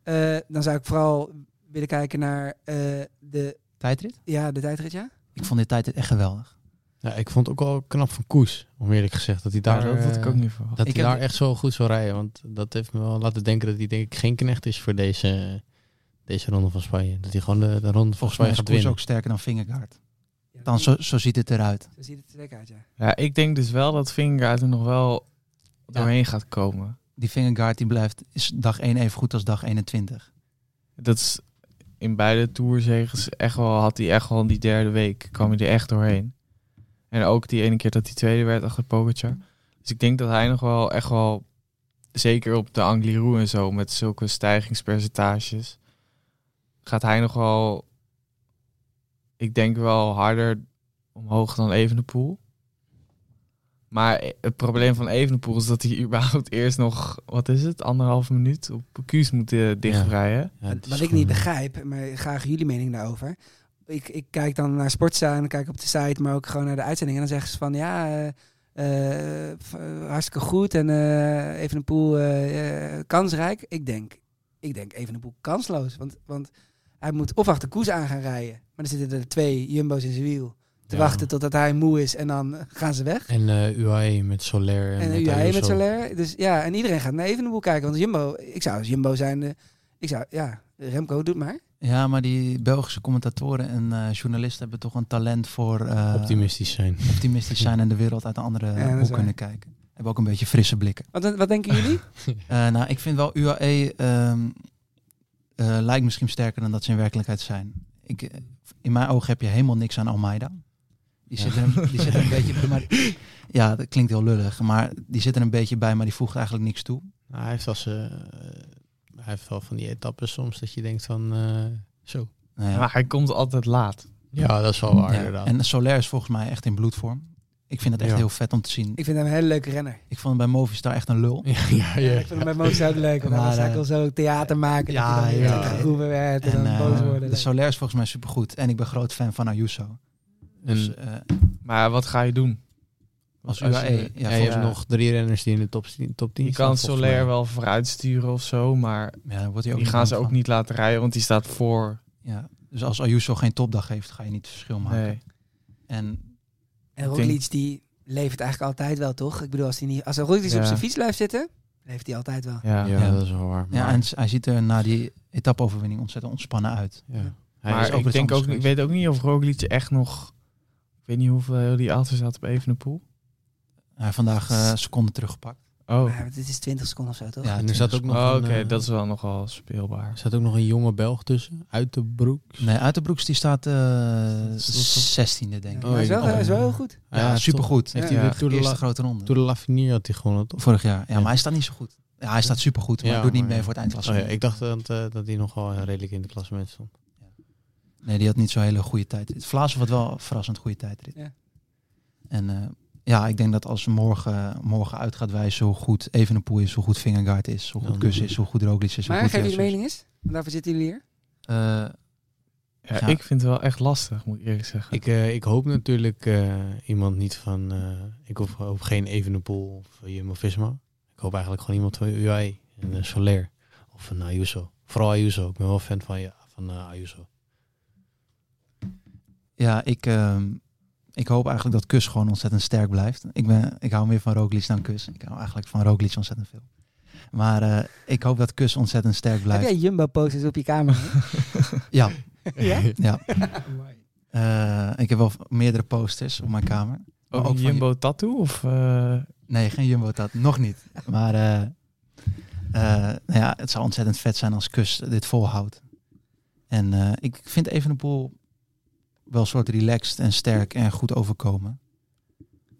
A: Eh, dan zou ik vooral willen kijken naar eh, de...
I: Tijdrit?
A: Ja, de tijdrit, ja.
I: Ik vond dit tijdrit echt geweldig.
B: Ja, ik vond het ook wel knap van Koes, om eerlijk gezegd. Dat hij daar,
E: Ja, dat had ik
B: eh,
E: ook niet verwacht.
B: Dat
I: Ik
B: hij
I: heb-
B: daar echt zo goed zou rijden. Want dat heeft me wel laten denken dat hij denk ik geen knecht is voor deze, deze ronde van Spanje. Dat hij gewoon de, de ronde van
I: Volgens mij
B: Spanje
I: is
B: gaat
I: Koes
B: winnen.
I: ook sterker dan Vingegaard. Dan zo, zo ziet het eruit.
A: Zo ziet het er lekker uit, ja.
E: Ja, ik denk dus wel dat Vingegaard er nog wel doorheen gaat komen.
I: Die Vingegaard die blijft, is dag 1 even goed als dag 21.
E: Dat is in beide toerzegens echt wel, had hij echt wel in die derde week, kwam hij er echt doorheen. En ook die ene keer dat hij tweede werd achter Pogacar. Dus ik denk dat hij nog wel echt wel, zeker op de Angliru en zo, met zulke stijgingspercentages, gaat hij nog wel, ik denk wel harder omhoog dan Evenepoel. Maar het probleem van Evenepoel is dat hij überhaupt eerst nog, wat is het, anderhalf minuut op Cuus moet eh, dichtrijden.
B: Ja, het is
A: Wat ik
B: gewoon- eh,
A: niet begrijp, maar graag jullie mening daarover. Ik, ik kijk dan naar Sportza en kijk op de site, maar ook gewoon naar de uitzending. En dan zeggen ze van ja, eh, eh, f- eh, hartstikke goed en eh even een poel kansrijk. Ik denk, ik denk even een poel kansloos. Want, want hij moet of achter Koes aan gaan rijden. Maar dan zitten er twee jumbo's in zijn wiel te
B: Ja.
A: wachten totdat hij moe is en dan eh, gaan ze weg.
B: En eh UAE met Soler en,
A: En
B: met
A: nu jij met
B: Ayuso.
A: Soler. Dus ja, en iedereen gaat naar Evenepoel kijken. Want Jumbo, ik zou als Jumbo zijn, eh, ik zou, ja, Remco, doet maar.
I: Ja, maar die Belgische commentatoren en eh, journalisten hebben toch een talent voor eh,
B: Optimistisch zijn.
I: optimistisch zijn en de wereld uit een andere
A: dat is
I: hoek
A: waar.
I: kunnen kijken. Hebben ook een beetje frisse blikken.
A: Wat, wat denken jullie?
I: Eh, nou, ik vind wel UAE ehm, eh, lijkt misschien sterker dan dat ze in werkelijkheid zijn. Ik, eh, in mijn ogen heb je helemaal niks aan Almeida. Die zit, er, een- die zit er een beetje maar, Ja, dat klinkt heel lullig. Maar die zit er een beetje bij, maar die voegt eigenlijk niks toe.
B: Nou, hij, heeft wel zijn, eh, hij heeft wel van die etappes soms dat je denkt van eh, zo.
I: Nou ja.
E: Maar hij komt altijd laat.
B: Ja, dat is wel waar
I: Ja,
B: inderdaad.
I: En Soler is volgens mij echt in bloedvorm. Ik vind het echt
B: Ja.
I: heel vet om te zien.
A: Ik vind hem een hele leuke renner.
I: Ik vond hem bij Movistar echt een lul.
B: Ja, ja, ja.
A: Ik vind hem bij Moos ook leuk. Want
I: Maar,
A: dan zou ik
I: eh,
A: al zo theater maken.
I: ja,
A: dat hij dan
I: ja.
A: weer zit te groeven werd en,
I: En,
A: dan
I: eh,
A: boos worden.
I: de Soler is volgens mij supergoed. En ik ben groot fan van Ayuso. Dus,
B: En
I: eh,
E: Maar wat ga je doen?
I: als
E: als
I: UAE. ja,
E: je-
B: hij
I: volgens-
B: heeft nog drie renners die in de top, 10 top 10
E: Je
B: staan,
E: kan
B: volgens
E: Soler
B: mij.
E: wel vooruit sturen of zo, maar
I: ja, daar wordt hij ook
E: die
I: niet
E: gaan ze
I: bang
E: ook
I: van.
E: niet laten rijden, want die staat voor.
I: Ja, dus als Ayuso geen topdag heeft, ga je niet het verschil maken.
E: Nee.
I: En
A: en
E: ik
A: Roglic, die levert eigenlijk altijd wel, toch? Ik bedoel, als, hij niet, als Roglic dus
E: Ja.
A: op zijn fiets blijft zitten, leeft hij altijd wel.
E: Ja.
B: Ja,
I: Ja.
B: dat is wel waar.
I: ja,
B: maar-
I: en s- hij ziet er na die etappe-overwinning ontzettend ontspannen uit.
B: ja. Hij is
E: Maar
B: ook
E: ik,
I: iets
E: denk
I: anders
E: ook, ik
I: geweest.
E: weet ook niet of Roglic echt nog... eh, Ik weet niet hoeveel die auto staat op Evenepoel.
I: Hij heeft vandaag eh seconden teruggepakt.
E: Oh.
A: Maar het is 20 seconden of zo, toch?
B: Ja, en er zat ook nog
E: Oh,
B: een,
E: Oké,
B: eh,
E: dat is wel nogal speelbaar.
B: Er zat ook nog een jonge Belg tussen, uit de broek.
I: Nee, Uiterbroeks die staat eh 16e, denk ik.
B: Oh, Hij is wel- ik- hij is wel heel goed.
I: Ja,
B: Ja,
I: supergoed.
B: toch?
I: Heeft
B: Ja.
I: hij
B: Door
I: weer
B: de
I: de eerste
B: la-
I: grote ronde.
B: Door de Lavinier had hij gewonnen, toch?
I: Vorig jaar. Ja, maar hij staat niet zo goed. Ja, hij staat supergoed, maar
B: Ja,
I: hij doet niet
B: maar-
I: mee voor het eindklassement.
B: Oh ja, ik dacht dat, eh, dat hij nogal eh, redelijk in de klassement stond.
I: Nee, die had niet zo'n hele goede tijd. Vlaas had wel een verrassend goede tijdrit.
A: Ja.
I: En eh, ja, ik denk dat als morgen, morgen uit gaat wijzen hoe goed Evenepoel is, hoe goed Vingegaard is, hoe goed Kus is, hoe goed Roglic is, hoe
A: Maar
I: goed
A: geef jullie
I: Jesse is.
A: mening eens? Want daarvoor zitten jullie hier.
I: Eh,
E: Ja, ik vind het wel echt lastig, moet ik eerlijk zeggen.
B: Ik, eh, ik hoop natuurlijk eh, iemand niet van... eh, ik hoop, hoop geen Evenepoel of Jumbo-Visma. Ik hoop eigenlijk gewoon iemand van UAE. Een eh, Soler of een Ayuso. Vooral Ayuso. Ik ben wel fan van, ja, van eh, Ayuso.
I: Ja, ik, ehm, ik hoop eigenlijk dat Kus gewoon ontzettend sterk blijft. Ik, ben, ik hou meer van Roglic dan Kus. Ik hou eigenlijk van Roglic ontzettend veel. Maar eh, ik hoop dat Kus ontzettend sterk
A: Heb
I: blijft.
A: jij Jumbo-posters op je kamer?
I: Ja.
A: Ja?
I: ja. Eh, ik heb wel v- meerdere posters op mijn kamer. Maar
E: Ook een
I: van
E: Jumbo tattoo? Of, eh?
I: Nee, geen Jumbo Tat. Nog niet. Maar eh, eh, nou ja, het zou ontzettend vet zijn als Kus dit volhoudt. En eh, ik vind Evenepoel wel een soort relaxed en sterk en goed overkomen.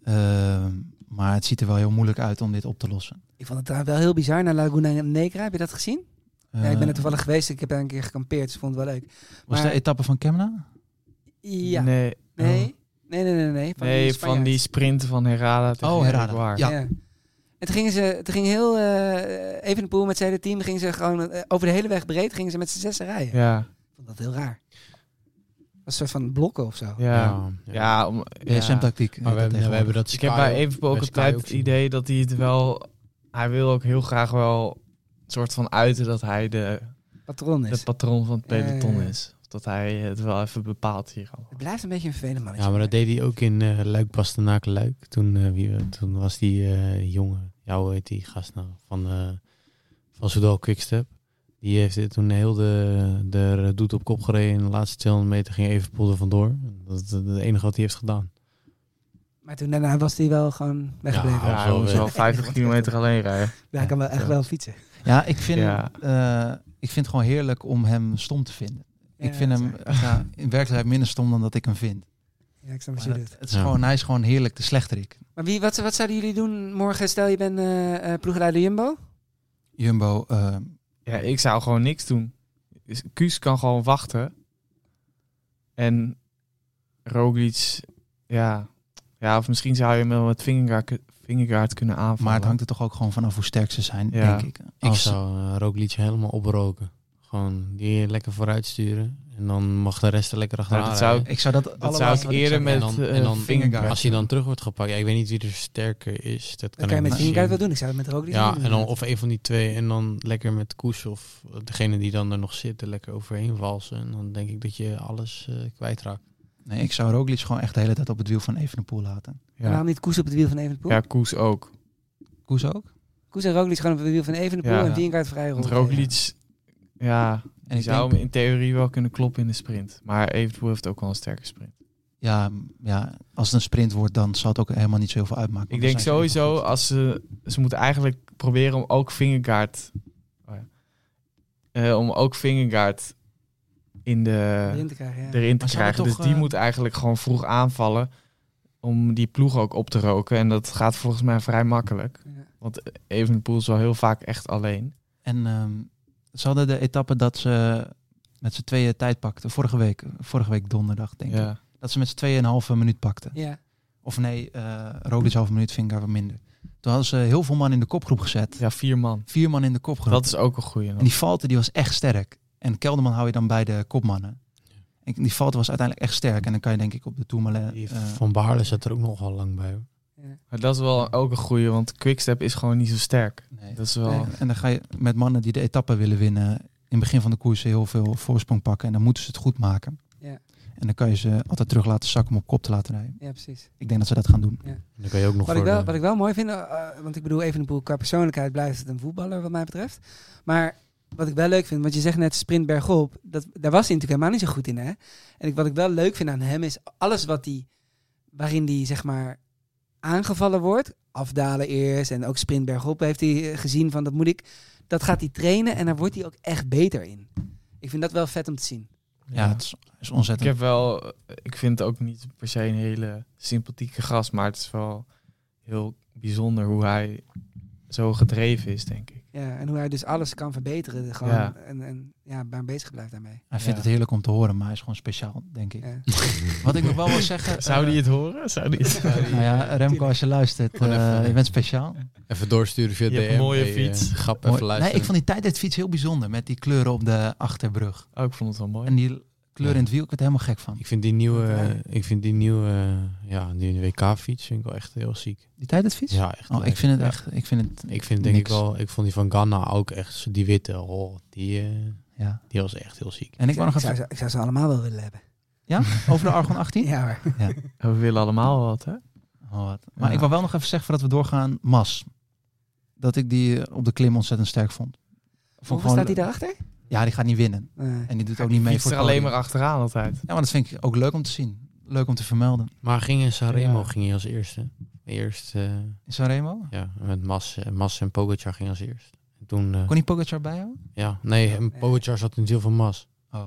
I: Ehm, maar het ziet er wel heel moeilijk uit om dit op te lossen.
A: Ik vond het trouwens wel heel bizar naar Laguna Negra. Heb je dat gezien? ja, ik ben
I: Eh.
A: er toevallig geweest. Ik heb daar een keer gekampeerd. Dus ik vond het wel leuk.
I: Was
A: Maar-
I: de etappe van Kemna?
A: Ja.
E: Nee. Oh.
A: Nee. Nee, nee, nee. nee. Van
E: nee,
A: die
E: van die sprint van Herada tegen
I: Oh, Herrada.
E: Egoar.
I: Ja.
A: Het ging, ze, het ging heel eh even de poel met zijn hele team. Gingen ze gewoon eh, over de hele weg breed. Gingen ze met z'n zessen rijden.
E: Ja.
A: Ik vond dat heel raar. Een soort van blokken of zo.
E: Ja, ja. om,
I: BSM-tactiek.
B: Maar we hebben- we hebben dat
E: Ik heb
B: Sky
E: bij
B: ook-
E: Evenpoel ook
B: bij Sky
E: altijd
B: ook
E: het
B: zien.
E: idee dat hij het wel... Hij wil ook heel graag wel een soort van uiten dat hij de
A: Patroon is.
E: de patroon van het
A: Ja, ja,
E: peloton
A: ja.
E: is. Of Dat hij het wel even bepaalt hier al.
A: Het blijft een beetje een vervelend mannetje.
B: Ja, maar dat deed hij ook in eh Luik Bastenaken Luik. Toen, eh, wie, toen was die eh, jongen, ja, hoe heet die gast nou, van, eh van Soudal Quickstep. Die heeft eh, toen heel de, de doet op kop gereden. En de laatste 200 meter ging Evenepoel er vandoor. Dat is het enige wat hij heeft gedaan.
A: Maar toen daarna was hij wel gewoon weggebleven.
B: Ja, hij moest wel
E: 50 kilometer alleen rijden.
A: Ja, hij kan wel echt wel fietsen.
I: Ja, ik vind,
E: Ja.
I: eh, ik vind het gewoon heerlijk om hem stom te vinden.
A: Ja,
I: ik vind
A: dat
I: hem ja, in werkelijkheid minder stom dan dat ik hem vind.
A: Ja, ik snap wat
I: Maar
A: je
I: het-
A: bedoelt.
I: het is gewoon, hij is gewoon heerlijk de slechterik.
A: Maar wie, wat, wat zouden jullie doen morgen? Stel je bent eh eh, ploegleider Jumbo.
I: Jumbo, eh,
E: Ja, ik zou gewoon niks doen. Dus Kuus kan gewoon wachten. En Roglic, ja. Ja, of misschien zou je hem wel met Vingegaard, Vingegaard kunnen aanvallen.
I: maar het hangt er toch ook gewoon vanaf hoe sterk ze zijn,
E: Ja.
I: denk ik.
B: Ik
I: Als-
B: zou uh, Roglic helemaal oproken. Gewoon die lekker vooruit sturen. En dan mag de rest er lekker achteraan
E: dat zou
B: rijden.
I: ik zou dat
E: allemaal- zou ik wat ik eerder zou- met,
B: En dan,
E: eh,
B: en dan-
E: Vingegaard
B: Als hij dan terug wordt gepakt. Ja, ik weet niet wie er sterker is. Dat kan,
A: Dan kan je met
B: ik niet
A: Vingegaard
B: zien.
A: wel doen. Ik zou het met Roglic
B: Ja,
A: doen,
B: en dan,
A: inderdaad.
B: of een van die twee. En dan lekker met Koes of degene die dan er nog zit. Er lekker overheen walsen. En dan denk ik dat je alles eh, kwijtraakt.
I: nee, ik zou Roglic gewoon echt de hele tijd op het wiel van Evenepoel laten.
A: En Waarom niet Koes op het wiel van Evenepoel?
E: Ja, Koes ook.
I: Koes ook?
A: Koes en Roglic gewoon op het wiel van Evenepoel
E: Ja.
A: en Vingegaard vrij rond.
E: Want Roglic, ja, en
I: ik
E: ik zou
I: denk-
E: hem in theorie wel kunnen kloppen in de sprint. Maar Evenpoel heeft ook wel een sterke sprint.
I: Ja, m- ja, als het een sprint wordt, dan zal het ook helemaal niet zo heel veel uitmaken.
E: Ik
I: want
E: denk
I: dan zijn ze even
E: sowieso, als ze, ze moeten eigenlijk proberen om ook Vingegaard, oh ja, Eh, om ook Vingegaard in de,
A: Erin te krijgen, ja.
E: erin te
A: Maar ze
E: krijgen.
A: hadden
E: Dus
A: toch,
E: die
A: eh,
E: moet eigenlijk gewoon vroeg aanvallen om die ploeg ook op te roken. En dat gaat volgens mij vrij makkelijk. Want Evenpoel is wel heel vaak echt alleen.
I: En ehm, ze hadden de etappe dat ze met z'n tweeën tijd pakten. Vorige week, vorige week donderdag, denk
E: Ja.
I: ik. Dat ze met z'n tweeën een halve minuut pakten.
A: Ja.
I: Of nee, eh Roglic halve minuut, Vingegaard wat minder. Toen hadden ze heel veel man in de kopgroep gezet.
E: Ja, vier man.
I: Vier man in de kopgroep.
E: Dat is ook een goeie.
I: En die Falte die was echt sterk. En Kelderman hou je dan bij de kopmannen. En die Falte was uiteindelijk echt sterk. En dan kan je denk ik op de Tourmalet... eh,
B: Van Baarle zat er ook nogal lang bij. hoor.
E: Maar dat is wel ook een goeie, want Quickstep is gewoon niet zo sterk. Dat is wel...
I: Nee, en dan ga je met mannen die de etappe willen winnen... in het begin van de koers heel veel voorsprong pakken. En dan moeten ze het goed maken.
A: Ja.
I: En dan kan je ze altijd terug laten zakken om op kop te laten rijden.
A: Ja, precies.
I: Ik denk dat ze dat gaan doen.
A: Ja.
B: Dan kan je ook nog
A: Wat ik,
B: voor
A: wel,
B: de-
A: wat ik wel mooi vind, eh, eh, want ik bedoel, Evenepoel qua persoonlijkheid blijft het een voetballer wat mij betreft. Maar wat ik wel leuk vind, want je zegt net sprint bergop, dat, daar was hij natuurlijk helemaal niet zo goed in. Hè? En ik, wat ik wel leuk vind aan hem is alles wat hij, waarin hij zeg maar aangevallen wordt, afdalen eerst en ook sprint bergop heeft hij eh, gezien van dat moet ik. Dat gaat hij trainen en daar wordt hij ook echt beter in. Ik vind dat wel vet om te zien.
I: Ja, het is, is ontzettend.
E: Ik heb wel, ik vind het ook niet per se een hele sympathieke gast, maar het is wel heel bijzonder hoe hij zo gedreven is, denk ik.
A: Ja, en hoe hij dus alles kan verbeteren. Gewoon,
E: Ja.
A: En, en ja, maar bezig blijft daarmee.
I: Hij vindt
A: Ja.
I: het heerlijk om te horen, maar hij is gewoon speciaal, denk ik.
A: Ja.
I: Wat ik nog wel wil zeggen...
E: Zou
I: eh,
E: die het horen? Zou die het
I: nou ja, Remco, als je luistert,
B: Gewoon
I: eh,
B: even-
I: je bent speciaal.
B: Even doorsturen via
E: Je hebt
B: DM.
E: een mooie
B: Hey, eh,
E: fiets.
B: grap
I: Mooi.
B: even
I: Nee,
B: luisteren.
I: ik vond die tijdritfiets heel bijzonder met die kleuren op de achterbrug.
E: Oh, ik vond het wel mooi.
I: En die kleur in het wiel, ik werd er helemaal gek van.
B: Ik vind die nieuwe, ik vind die nieuwe, eh, ja, die WK-fiets vind ik wel echt heel ziek.
I: Die tijdritfiets?
B: Ja, echt.
I: Oh,
B: leuk.
I: ik vind het
B: Ja.
I: echt, ik vind het
B: Ik vind denk
I: niks.
B: ik wel, ik vond die van Ghana ook echt, die witte, oh, die, eh,
I: Ja.
B: die was echt heel ziek.
I: En ik wou nog
A: zou,
I: even...
A: ze- ik zou ze allemaal wel willen hebben.
I: Ja? Over de Argon 18?
A: Ja hoor.
I: Ja.
E: We willen allemaal wat, hè?
I: Oh, wat. Maar
E: Ja.
I: ik wil wel nog even zeggen voordat we doorgaan, Mas. Dat ik die eh, op de klim ontzettend sterk vond. Vond
A: Hoeveel
I: gewoon-
A: staat hij daarachter?
I: Ja, die gaat niet winnen.
A: Nee.
I: En die doet ook niet mee
E: Fietst
I: voor
E: er
I: het
E: alleen
I: podium.
E: maar achteraan altijd.
I: Ja, maar dat vind ik ook leuk om te zien. Leuk om te vermelden.
B: Maar ging in Sanremo
E: Ja.
B: ging hij als eerste. Eerst, eh,
I: In Sanremo?
B: ja, met Mas, eh, Mas en Pogacar ging als eerst. En toen, eh,
I: Kon die Pogacar bijhouden?
B: ja, nee, en Pogacar zat in het wiel van Mas.
I: Oh,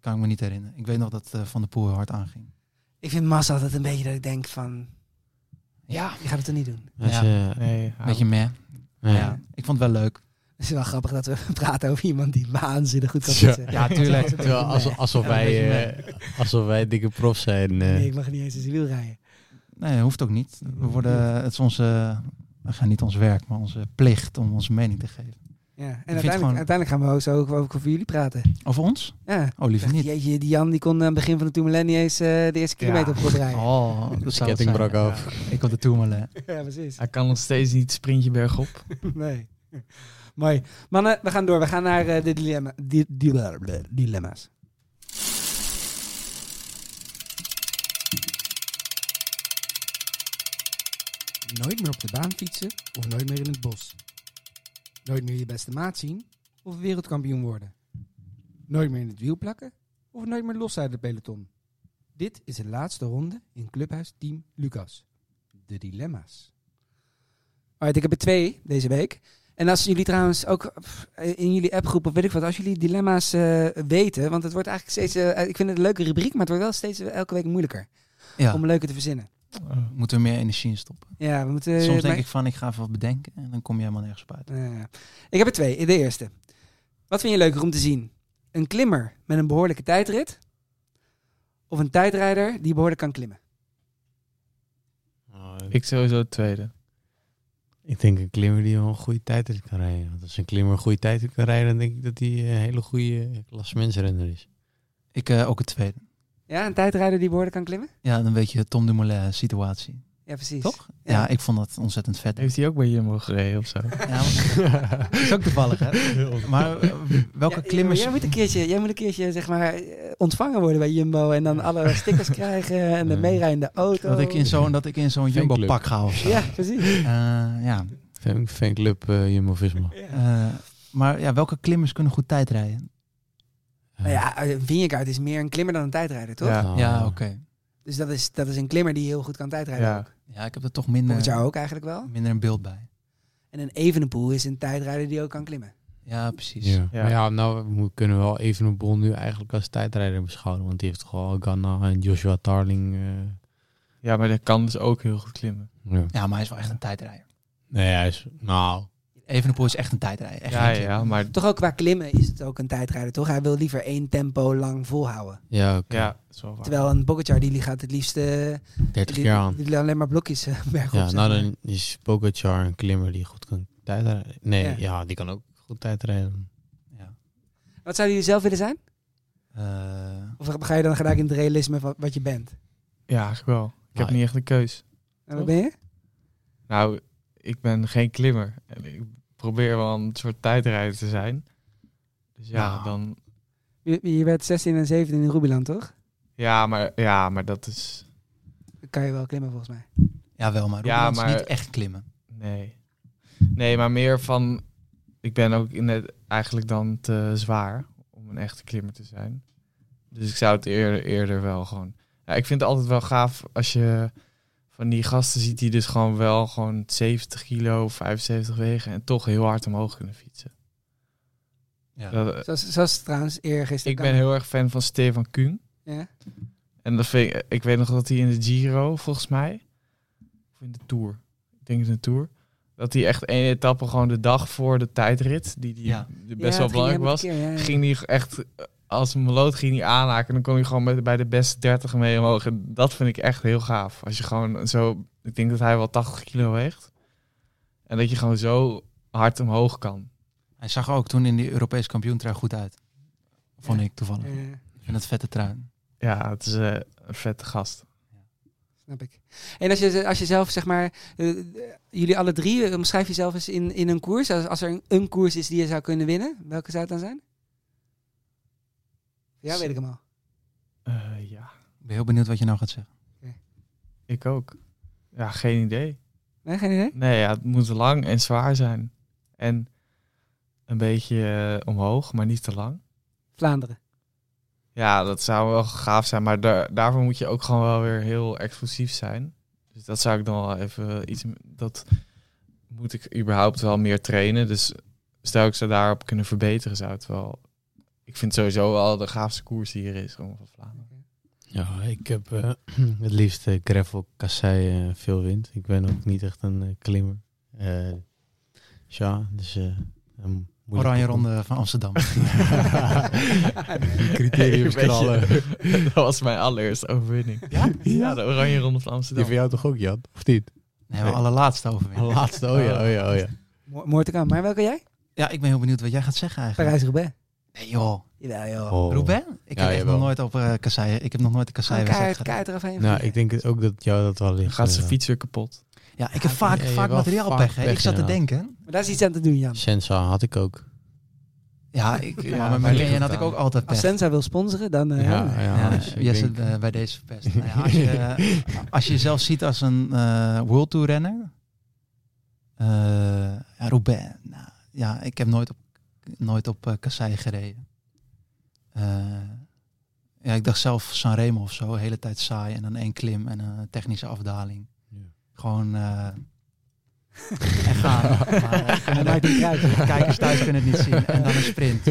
I: kan ik me niet herinneren. Ik weet nog dat eh, Van der Poel hard aanging.
A: Ik vind Mas altijd een beetje dat ik denk van...
I: Ja.
A: Je gaat het toch niet doen?
B: Dus,
I: Ja.
B: eh,
E: Nee, hou-
I: Beetje meh.
B: Ja.
I: Ja. Ik vond het wel leuk.
A: Het is wel grappig dat we praten over iemand die waanzinnig goed kan fietsen.
I: Ja, tuurlijk.
A: eh. Dat is een
B: terwijl
A: beetje
B: alsof,
A: meh.
B: alsof,
I: Ja,
B: wij,
I: een beetje
B: eh, alsof wij dikke prof zijn. eh.
A: Nee, ik mag niet eens in zijn wiel rijden.
I: Nee, hoeft ook niet. We worden, het is onze, we gaan niet ons werk, maar onze plicht om onze mening te geven.
A: Ja. En
I: het
A: uiteindelijk,
I: gewoon-
A: uiteindelijk gaan we ook zo ook over, jullie praten.
I: Over ons?
A: Ja.
I: Oh, liever niet.
A: Jeetje, die Jan die kon aan het begin van de Tourmalet niet eens eh, de eerste kilometer op kop rijden.
I: Oh, dat
B: de
I: zou het
B: ketting
I: zijn.
B: brak af.
I: Ik op de Tourmalet.
A: Ja, precies.
E: Hij kan nog steeds niet sprintje bergop.
A: Nee. Mooi. Mannen, we gaan door. We gaan naar eh, de dilemma, di- di- dilemma's. Nooit meer op de baan fietsen of nooit meer in het bos. Nooit meer je beste maat zien of wereldkampioen worden. Nooit meer in het wiel plakken of nooit meer los uit het peloton. Dit is de laatste ronde in Clubhuis Team Lucas. De dilemma's. Alright, ik heb er twee deze week. En als jullie trouwens ook pff, in jullie appgroep of weet ik wat, als jullie dilemma's eh, weten, want het wordt eigenlijk steeds, eh, ik vind het een leuke rubriek, maar het wordt wel steeds eh, elke week moeilijker
I: Ja,
A: om leuke te verzinnen.
I: Eh, moeten we meer energie in stoppen.
A: Ja, we moeten.
I: Soms
A: maar-
I: denk ik van, ik ga even wat bedenken en dan kom je helemaal nergens op uit.
A: Eh, ik heb er twee. De eerste. Wat vind je leuker om te zien? Een klimmer met een behoorlijke tijdrit of een tijdrijder die behoorlijk kan klimmen?
B: Oh,
E: Ik sowieso het tweede.
B: Ik denk een klimmer die wel een goede tijd kan rijden. Want als een klimmer een goede tijd kan rijden, dan denk ik dat hij eh, een hele goede klassementsrenner is.
I: Ik eh, ook het tweede.
A: Ja, een tijdrijder die behoorlijk kan klimmen?
I: Ja, dan weet je Tom Dumoulin situatie.
A: Ja, precies.
I: Toch?
A: Ja.
I: Ja, ik vond dat ontzettend vet.
E: Heeft hij ook bij Jumbo gereden of zo?
I: Ja, maar- is ook toevallig, hè? Maar eh, welke
A: Ja,
I: klimmers...
A: Jij moet een keertje, jij moet een keertje zeg maar, eh, ontvangen worden bij Jumbo. En dan alle stickers krijgen en de
B: Ja.
A: meerijdende auto.
I: Dat ik in zo'n dat ik in zo'n
B: Fanclub.
I: jumbo pak ga of zo.
A: Ja, precies.
I: Eh, ja.
B: Fan- Fanclub eh Jumbo-Visma.
I: Eh, maar ja, welke klimmers kunnen goed tijd rijden?
A: Nou ja, eh, Vingegaard is meer een klimmer dan een tijdrijder, toch?
E: Ja.
B: Nou,
I: ja,
B: eh,
I: oké.
A: Dus dat is, dat is een klimmer die heel goed kan tijdrijden.
E: Ja.
A: ook.
I: Ja, ik heb er toch
A: Volgend
I: minder,
A: jaar ook eigenlijk wel.
I: minder een beeld bij.
A: En een Evenepoel is een tijdrijder die ook kan klimmen.
I: Ja, precies.
B: Ja. Maar ja, nou we mo- kunnen we wel even een bol nu eigenlijk als tijdrijder beschouwen. Want die heeft toch al Ganna en Joshua Tarling. eh,
E: Ja, maar dat kan dus ook heel goed klimmen.
B: ja.
I: Ja, maar hij is wel echt een tijdrijder.
B: Nee, hij is... Nou,
I: Evenepoel is echt een tijdrijder. Echt
E: Ja,
I: een klimmer.
E: ja, maar
A: Toch ook qua klimmen is het ook een tijdrijder, toch? Hij wil liever één tempo lang volhouden.
B: ja, oké.
E: ja, dat is wel waar.
A: Terwijl een Pogacar die gaat het liefst... eh,
B: 30
A: die,
B: keer aan.
A: die alleen maar blokjes eh, bergop.
B: Ja,
A: zeg
B: nou
A: maar.
B: dan is Pogacar een klimmer die goed kan tijdrijden. Nee,
A: Ja.
B: ja, die kan ook goed tijdrijden.
A: Wat zouden jullie zelf willen zijn?
I: Eh,
A: Of ga je dan gelijk in het realisme van wat je bent?
E: Ja, eigenlijk wel. Ik heb
B: Maar-
E: niet echt een keus.
A: En wat
E: Toch?
A: ben je?
E: Nou, ik ben geen klimmer. En ik probeer wel een soort tijdrijder te zijn. Dus ja,
I: Nou.
E: dan...
A: Je, je werd 16 en 17 in Rubiland, toch?
E: Ja maar, ja, maar dat is...
A: Dan kan je wel klimmen volgens mij.
I: ja, wel, maar
E: Ja,
I: Roeland is
E: maar-
I: niet echt klimmen.
E: Nee. Nee, maar meer van... Ik ben ook net eigenlijk dan te zwaar om een echte klimmer te zijn. Dus ik zou het eerder, eerder wel gewoon... Ja, ik vind het altijd wel gaaf als je Van die gasten ziet hij dus gewoon wel gewoon 70 kilo, 75 wegen en toch heel hard omhoog kunnen fietsen.
I: Ja.
E: Dat,
A: Zoals, zoals trouwens eergisteren.
E: ik ben heel erg fan van Stefan Kuhn.
A: Ja.
E: En dat vind ik, ik weet nog dat hij in de Giro, volgens mij, of in de Tour, ik denk in de Tour, dat hij echt één etappe gewoon de dag voor de tijdrit, die, die
I: Ja.
E: die
I: Ja, het
E: best wel
I: ging
E: belangrijk
I: helemaal
E: was,
I: tekeer, ja, ja.
E: ging hij echt eh, als een meloot ging hij aanhaken. En dan kon hij gewoon met, bij de beste 30 mee omhoog. En dat vind ik echt heel gaaf. Als je gewoon zo, ik denk dat hij wel 80 kilo weegt. En dat je gewoon zo hard omhoog kan.
I: Hij zag ook toen in die Europees kampioentrui goed uit. Vond ik toevallig.
A: Ja, ja.
I: En dat vette trui.
E: Ja, het is eh, een vette gast.
A: Snap ik. En als je, als je zelf, zeg maar, eh, eh, jullie alle drie, eh, omschrijf jezelf eens in, in een koers. Als, als er een, een koers is die je zou kunnen winnen, welke zou het dan zijn? Ja, weet ik hem al.
E: Eh, ja,
I: Ik ben heel benieuwd wat je nou gaat zeggen.
E: ik ook. Ja, geen idee.
A: Nee, geen idee?
E: Nee, ja, het moet lang en zwaar zijn. En een beetje eh, omhoog, maar niet te lang.
A: Vlaanderen.
E: Ja, dat zou wel gaaf zijn, maar daar, daarvoor moet je ook gewoon wel weer heel exclusief zijn. Dus dat zou ik dan wel even eh, iets. Dat moet ik überhaupt wel meer trainen. Dus stel ik zou daarop kunnen verbeteren, zou het wel. Ik vind sowieso wel de gaafste koers die hier is. Gewoon van Vlaanderen.
B: Ja, ik heb eh, het liefst eh, gravel, kassei, eh, veel wind. Ik ben ook niet echt een eh, klimmer. Eh, dus ja, dus... eh, een moeilijke
I: Oranje
B: koers.
I: Ronde van Amsterdam.
B: Die criteriums
E: Een beetje.
B: knallen.
E: Dat was mijn allereerste overwinning. Ja, de Oranje Ronde van Amsterdam.
B: Die van jou toch ook, Jan? Of niet?
I: Nee, mijn allerlaatste overwinning.
B: Laatste, oh ja, oh ja, oh ja.
A: Mo- Mooi te komen. Maar welke jij?
I: Ja, ik ben heel benieuwd wat jij gaat zeggen eigenlijk.
A: Parijs-Roubaix.
I: Nee joh.
A: Jawel, joh.
B: Oh.
I: Roubaix? Ik
B: Ja,
I: heb echt
B: jawel.
I: nog nooit op eh kassei. Ik heb nog nooit de kassei
A: Gewoon
I: wedstrijd
A: keihard,
I: gedaan.
A: keihard eraf heen.
B: Nou, ik denk ook dat jou dat wel ligt.
E: Gaat zijn
B: eh,
E: fiets weer kapot.
I: Ja, ik heb vaak,
B: ja, Ah, je
I: vaak
B: wel
I: materiaal
B: vaak
I: pech. hè. Ik
B: pech,
I: zat te
B: ja.
I: denken.
A: Maar daar is iets aan te doen, Jan.
B: Sensa had ik ook.
I: Ja, ik, ja, maar
E: waar ligt
I: met Kenyon
E: het
I: had ik
E: aan?
I: ook altijd
A: Als
I: pech.
A: Sensa wil sponsoren, dan... eh,
B: Ja, ja,
I: Ja,
B: dus ik
I: Jesse
B: denk-
I: eh, bij deze verpest. nou ja, als, je, eh, als je jezelf ziet als een eh World Tour renner. eh, ja, Roubaix. Nou, ja, ik heb nooit op, nooit op eh, Kassei gereden. Eh, ja, ik dacht zelf Sanremo of zo. De hele tijd saai. En dan één klim en een technische afdaling.
B: Ja.
I: Gewoon... eh, en gaan. Maar, eh, kunnen
A: maakt niet uit.
I: de kijkers thuis kunnen het niet zien. En dan een sprint.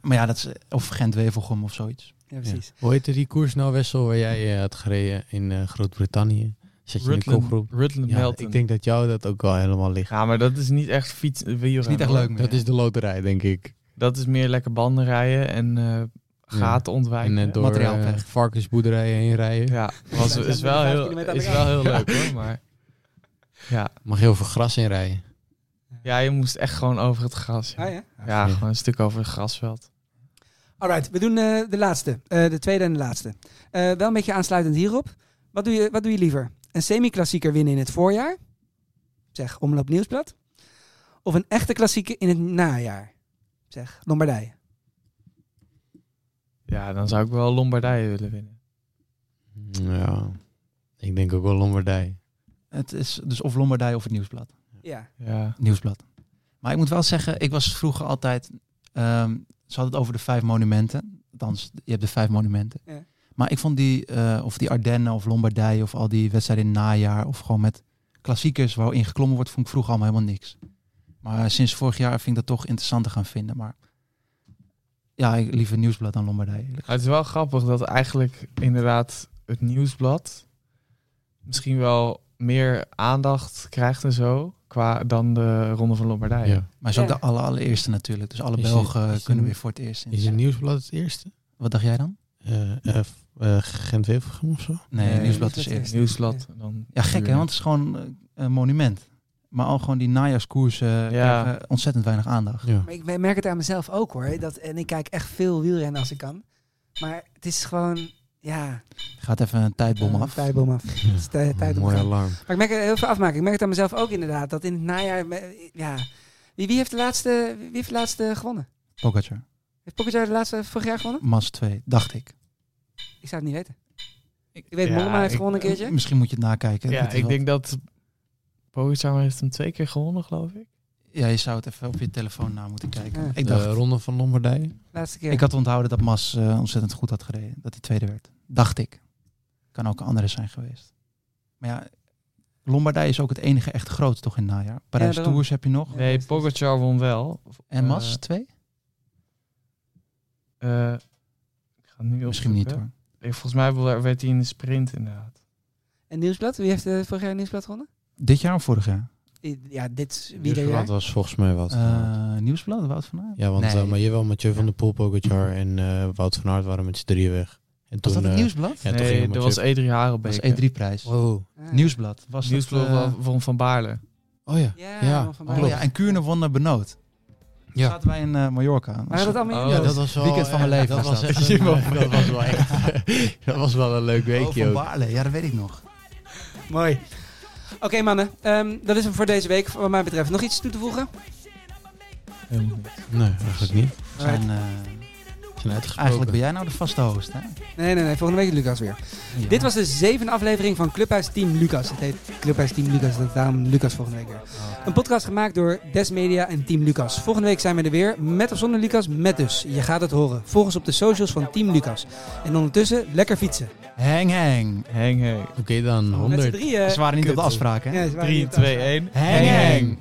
I: Maar ja, dat is, eh, of Gent-Wevelgem of zoiets.
A: ja, precies.
B: Hoe heette die koers nou, Wessel, waar jij eh, had gereden in eh, Groot-Brittannië? Zat je in de
E: Rutland-
B: kopgroep?
E: Rutland
B: Ja,
E: Melton.
B: ik denk dat jou dat ook wel helemaal ligt.
E: Ja, maar dat is niet echt fiets. eh, wielrennen,
I: is niet echt
E: hoor.
I: leuk meer.
B: Dat is de loterij, denk ik.
E: Dat is meer lekker banden rijden en eh, gaten ontwijken.
B: En eh, door eh,
I: materiaalpech.
B: varkensboerderijen heen rijden.
E: Ja, was,
A: zijn
E: is,
A: we
E: wel
A: vijf
E: heel,
A: kilometer aan
E: is
A: de
E: wel heel leuk hoor. Maar ja.
B: Mag heel veel gras in rijden.
E: ja, je moest echt gewoon over het gras. Ja,
A: Ah, ja.
E: Ja, gewoon een stuk over het grasveld.
A: Alright, we doen eh, de laatste. Eh, de tweede en de laatste. Eh, wel een beetje aansluitend hierop. Wat doe je, wat doe je liever? Een semi-klassieker winnen in het voorjaar? Zeg, Omloop Nieuwsblad. Of een echte klassieker in het najaar? Zeg, Lombardije.
E: Ja, dan zou ik wel Lombardije willen winnen.
B: Ja, ik denk ook wel Lombardij.
I: Het is dus of Lombardij of het Nieuwsblad.
A: Ja.
E: Ja,
I: Nieuwsblad. Maar ik moet wel zeggen, ik was vroeger altijd... ehm, ze hadden het over de vijf monumenten. Althans, je hebt de vijf monumenten.
A: Ja.
I: Maar ik vond die, eh, of die Ardennen of Lombardij of al die wedstrijden in het najaar... of gewoon met klassiekers waarin geklommen wordt, vond ik vroeger allemaal helemaal niks. Maar sinds vorig jaar vind ik dat toch interessant te gaan vinden. Maar ja, ik, liever Nieuwsblad dan Lombardij. eerlijk
E: Maar het is wel grappig dat eigenlijk inderdaad het nieuwsblad misschien wel meer aandacht krijgt en zo qua dan de Ronde van Lombardije.
B: Ja.
I: Maar ze is ook
A: Ja.
I: de aller, allereerste natuurlijk. Dus alle
B: Is het-
I: Belgen
B: is het
I: kunnen
B: een-
I: weer voor het eerst. in.
B: Is het nieuwsblad het eerste?
I: Wat dacht jij dan?
B: Eh eh, f- eh, Gent-Wevelgem of zo?
I: Nee,
E: Nee,
I: Nieuwsblad
A: Nieuwsblad is
I: is eerst.
E: Nieuwsblad. en Dan
I: Ja, gek hè, want het is gewoon eh, een monument. Maar al gewoon die najaarskoersen eh,
E: Ja.
I: krijgen ontzettend weinig aandacht.
B: Ja.
A: Maar ik me- merk het aan mezelf ook hoor. Dat, en ik kijk echt veel wielrennen als ik kan. Maar het is gewoon, ja...
I: Gaat even een tijdbom
A: eh,
I: af.
A: Tijdbom af. Het is tij- tijdbom
B: Mooi
A: gaan.
B: alarm.
A: Maar ik merk het heel veel afmaken. Ik merk het aan mezelf ook inderdaad. Dat in het najaar... me- Ja, wie, wie, heeft, de laatste, wie heeft de laatste gewonnen?
I: Pogacar.
A: Heeft Pogacar de laatste vorig jaar gewonnen?
I: Mas 2, dacht ik.
A: Ik zou het niet weten. Ik, weet,
E: Ja,
A: Mollema heeft
E: ik-
A: gewonnen een
I: Eh,
A: keertje.
I: Misschien moet je het nakijken.
E: Ja,
I: Goed,
E: ik
I: wel-
E: denk dat Pogacar heeft hem twee keer gewonnen, geloof ik.
I: Ja, je zou het even op je telefoon na moeten kijken.
A: Ja.
I: Ik dacht,
B: De Ronde van Lombardije.
A: Laatste keer.
I: ik had onthouden dat Mas eh, ontzettend goed had gereden. Dat hij tweede werd. Dacht ik. Kan ook een andere zijn geweest. Maar ja, Lombardij is ook het enige echt groot toch in het najaar. Parijs
E: daarom.
I: Tours heb je nog.
E: Nee, Pogacar won wel.
I: En Mas,
E: Eh,
I: twee?
E: eh, ik ga het nu
I: Misschien niet,
E: opzoeken. Ik, volgens mij wel- werd hij in de sprint inderdaad.
A: En Nieuwsblad? Wie heeft eh, vorig jaar Nieuwsblad gewonnen?
I: Dit jaar of vorig jaar?
A: I- Ja, dit is wie
B: Nieuwsblad
A: deed jij?
B: was volgens mij wat.
I: Eh, Nieuwsblad, Wout van Aert?
B: Ja, want
I: Nee.
B: eh, maar je wel Mathieu van der Poel, Pogacar en eh, Wout van Aert waren met z'n drieën weg. En
I: Was dat het
B: eh,
I: Nieuwsblad?
B: Ja, toen
E: nee,
B: ging
E: er
B: Mathieu-
E: was E3 Harenbeek.
I: Dat was E3-prijs.
B: Wow.
A: Ah.
I: Nieuwsblad. Was dat,
E: Nieuwsblad
I: eh,
E: wa- won van Baarle.
B: Oh ja.
I: Ja,
B: Ja, van Baarle.
I: Oh, ja. En Kuurne won naar Benoot. Toen
B: Ja.
I: zaten wij in eh, Mallorca.
A: Waren dat allemaal
B: Oh, ja, dat was wel,
I: weekend van mijn
B: eh,
I: leven.
B: Dat was, echt
I: dat.
B: een- dat was wel echt. dat was wel een leuk
I: Oh,
B: weekje
I: van
B: ook.
I: Baarle. Ja, dat weet ik nog.
A: Mooi. Oké mannen, Ehm, dat is hem voor deze week wat mij betreft. Nog iets toe te voegen?
B: Nee, eigenlijk niet.
I: We Zijn, eh, eigenlijk ben jij nou de vaste host, hè?
A: Nee, nee, nee. Volgende week is Lucas weer. Dit was de zevende aflevering van Clubhuis Team Lucas. Het heet Clubhuis Team Lucas, dat is daarom Lucas volgende week weer.
I: Oh.
A: Een podcast gemaakt door Des Media en Team Lucas. Volgende week zijn we er weer, met of zonder Lucas, met dus. Je gaat het horen. Volg ons op de socials van Team Lucas. En ondertussen, lekker fietsen.
I: Hang, hang.
E: Hang, hang.
B: Oké dan,
A: Met
B: 100.
A: z'n drieën.
I: Ze waren niet op de
B: Kut.
I: afspraak, hè?
A: Ja, ze waren
E: 3,
A: niet op de
E: 2, 1.
I: Hang, hang.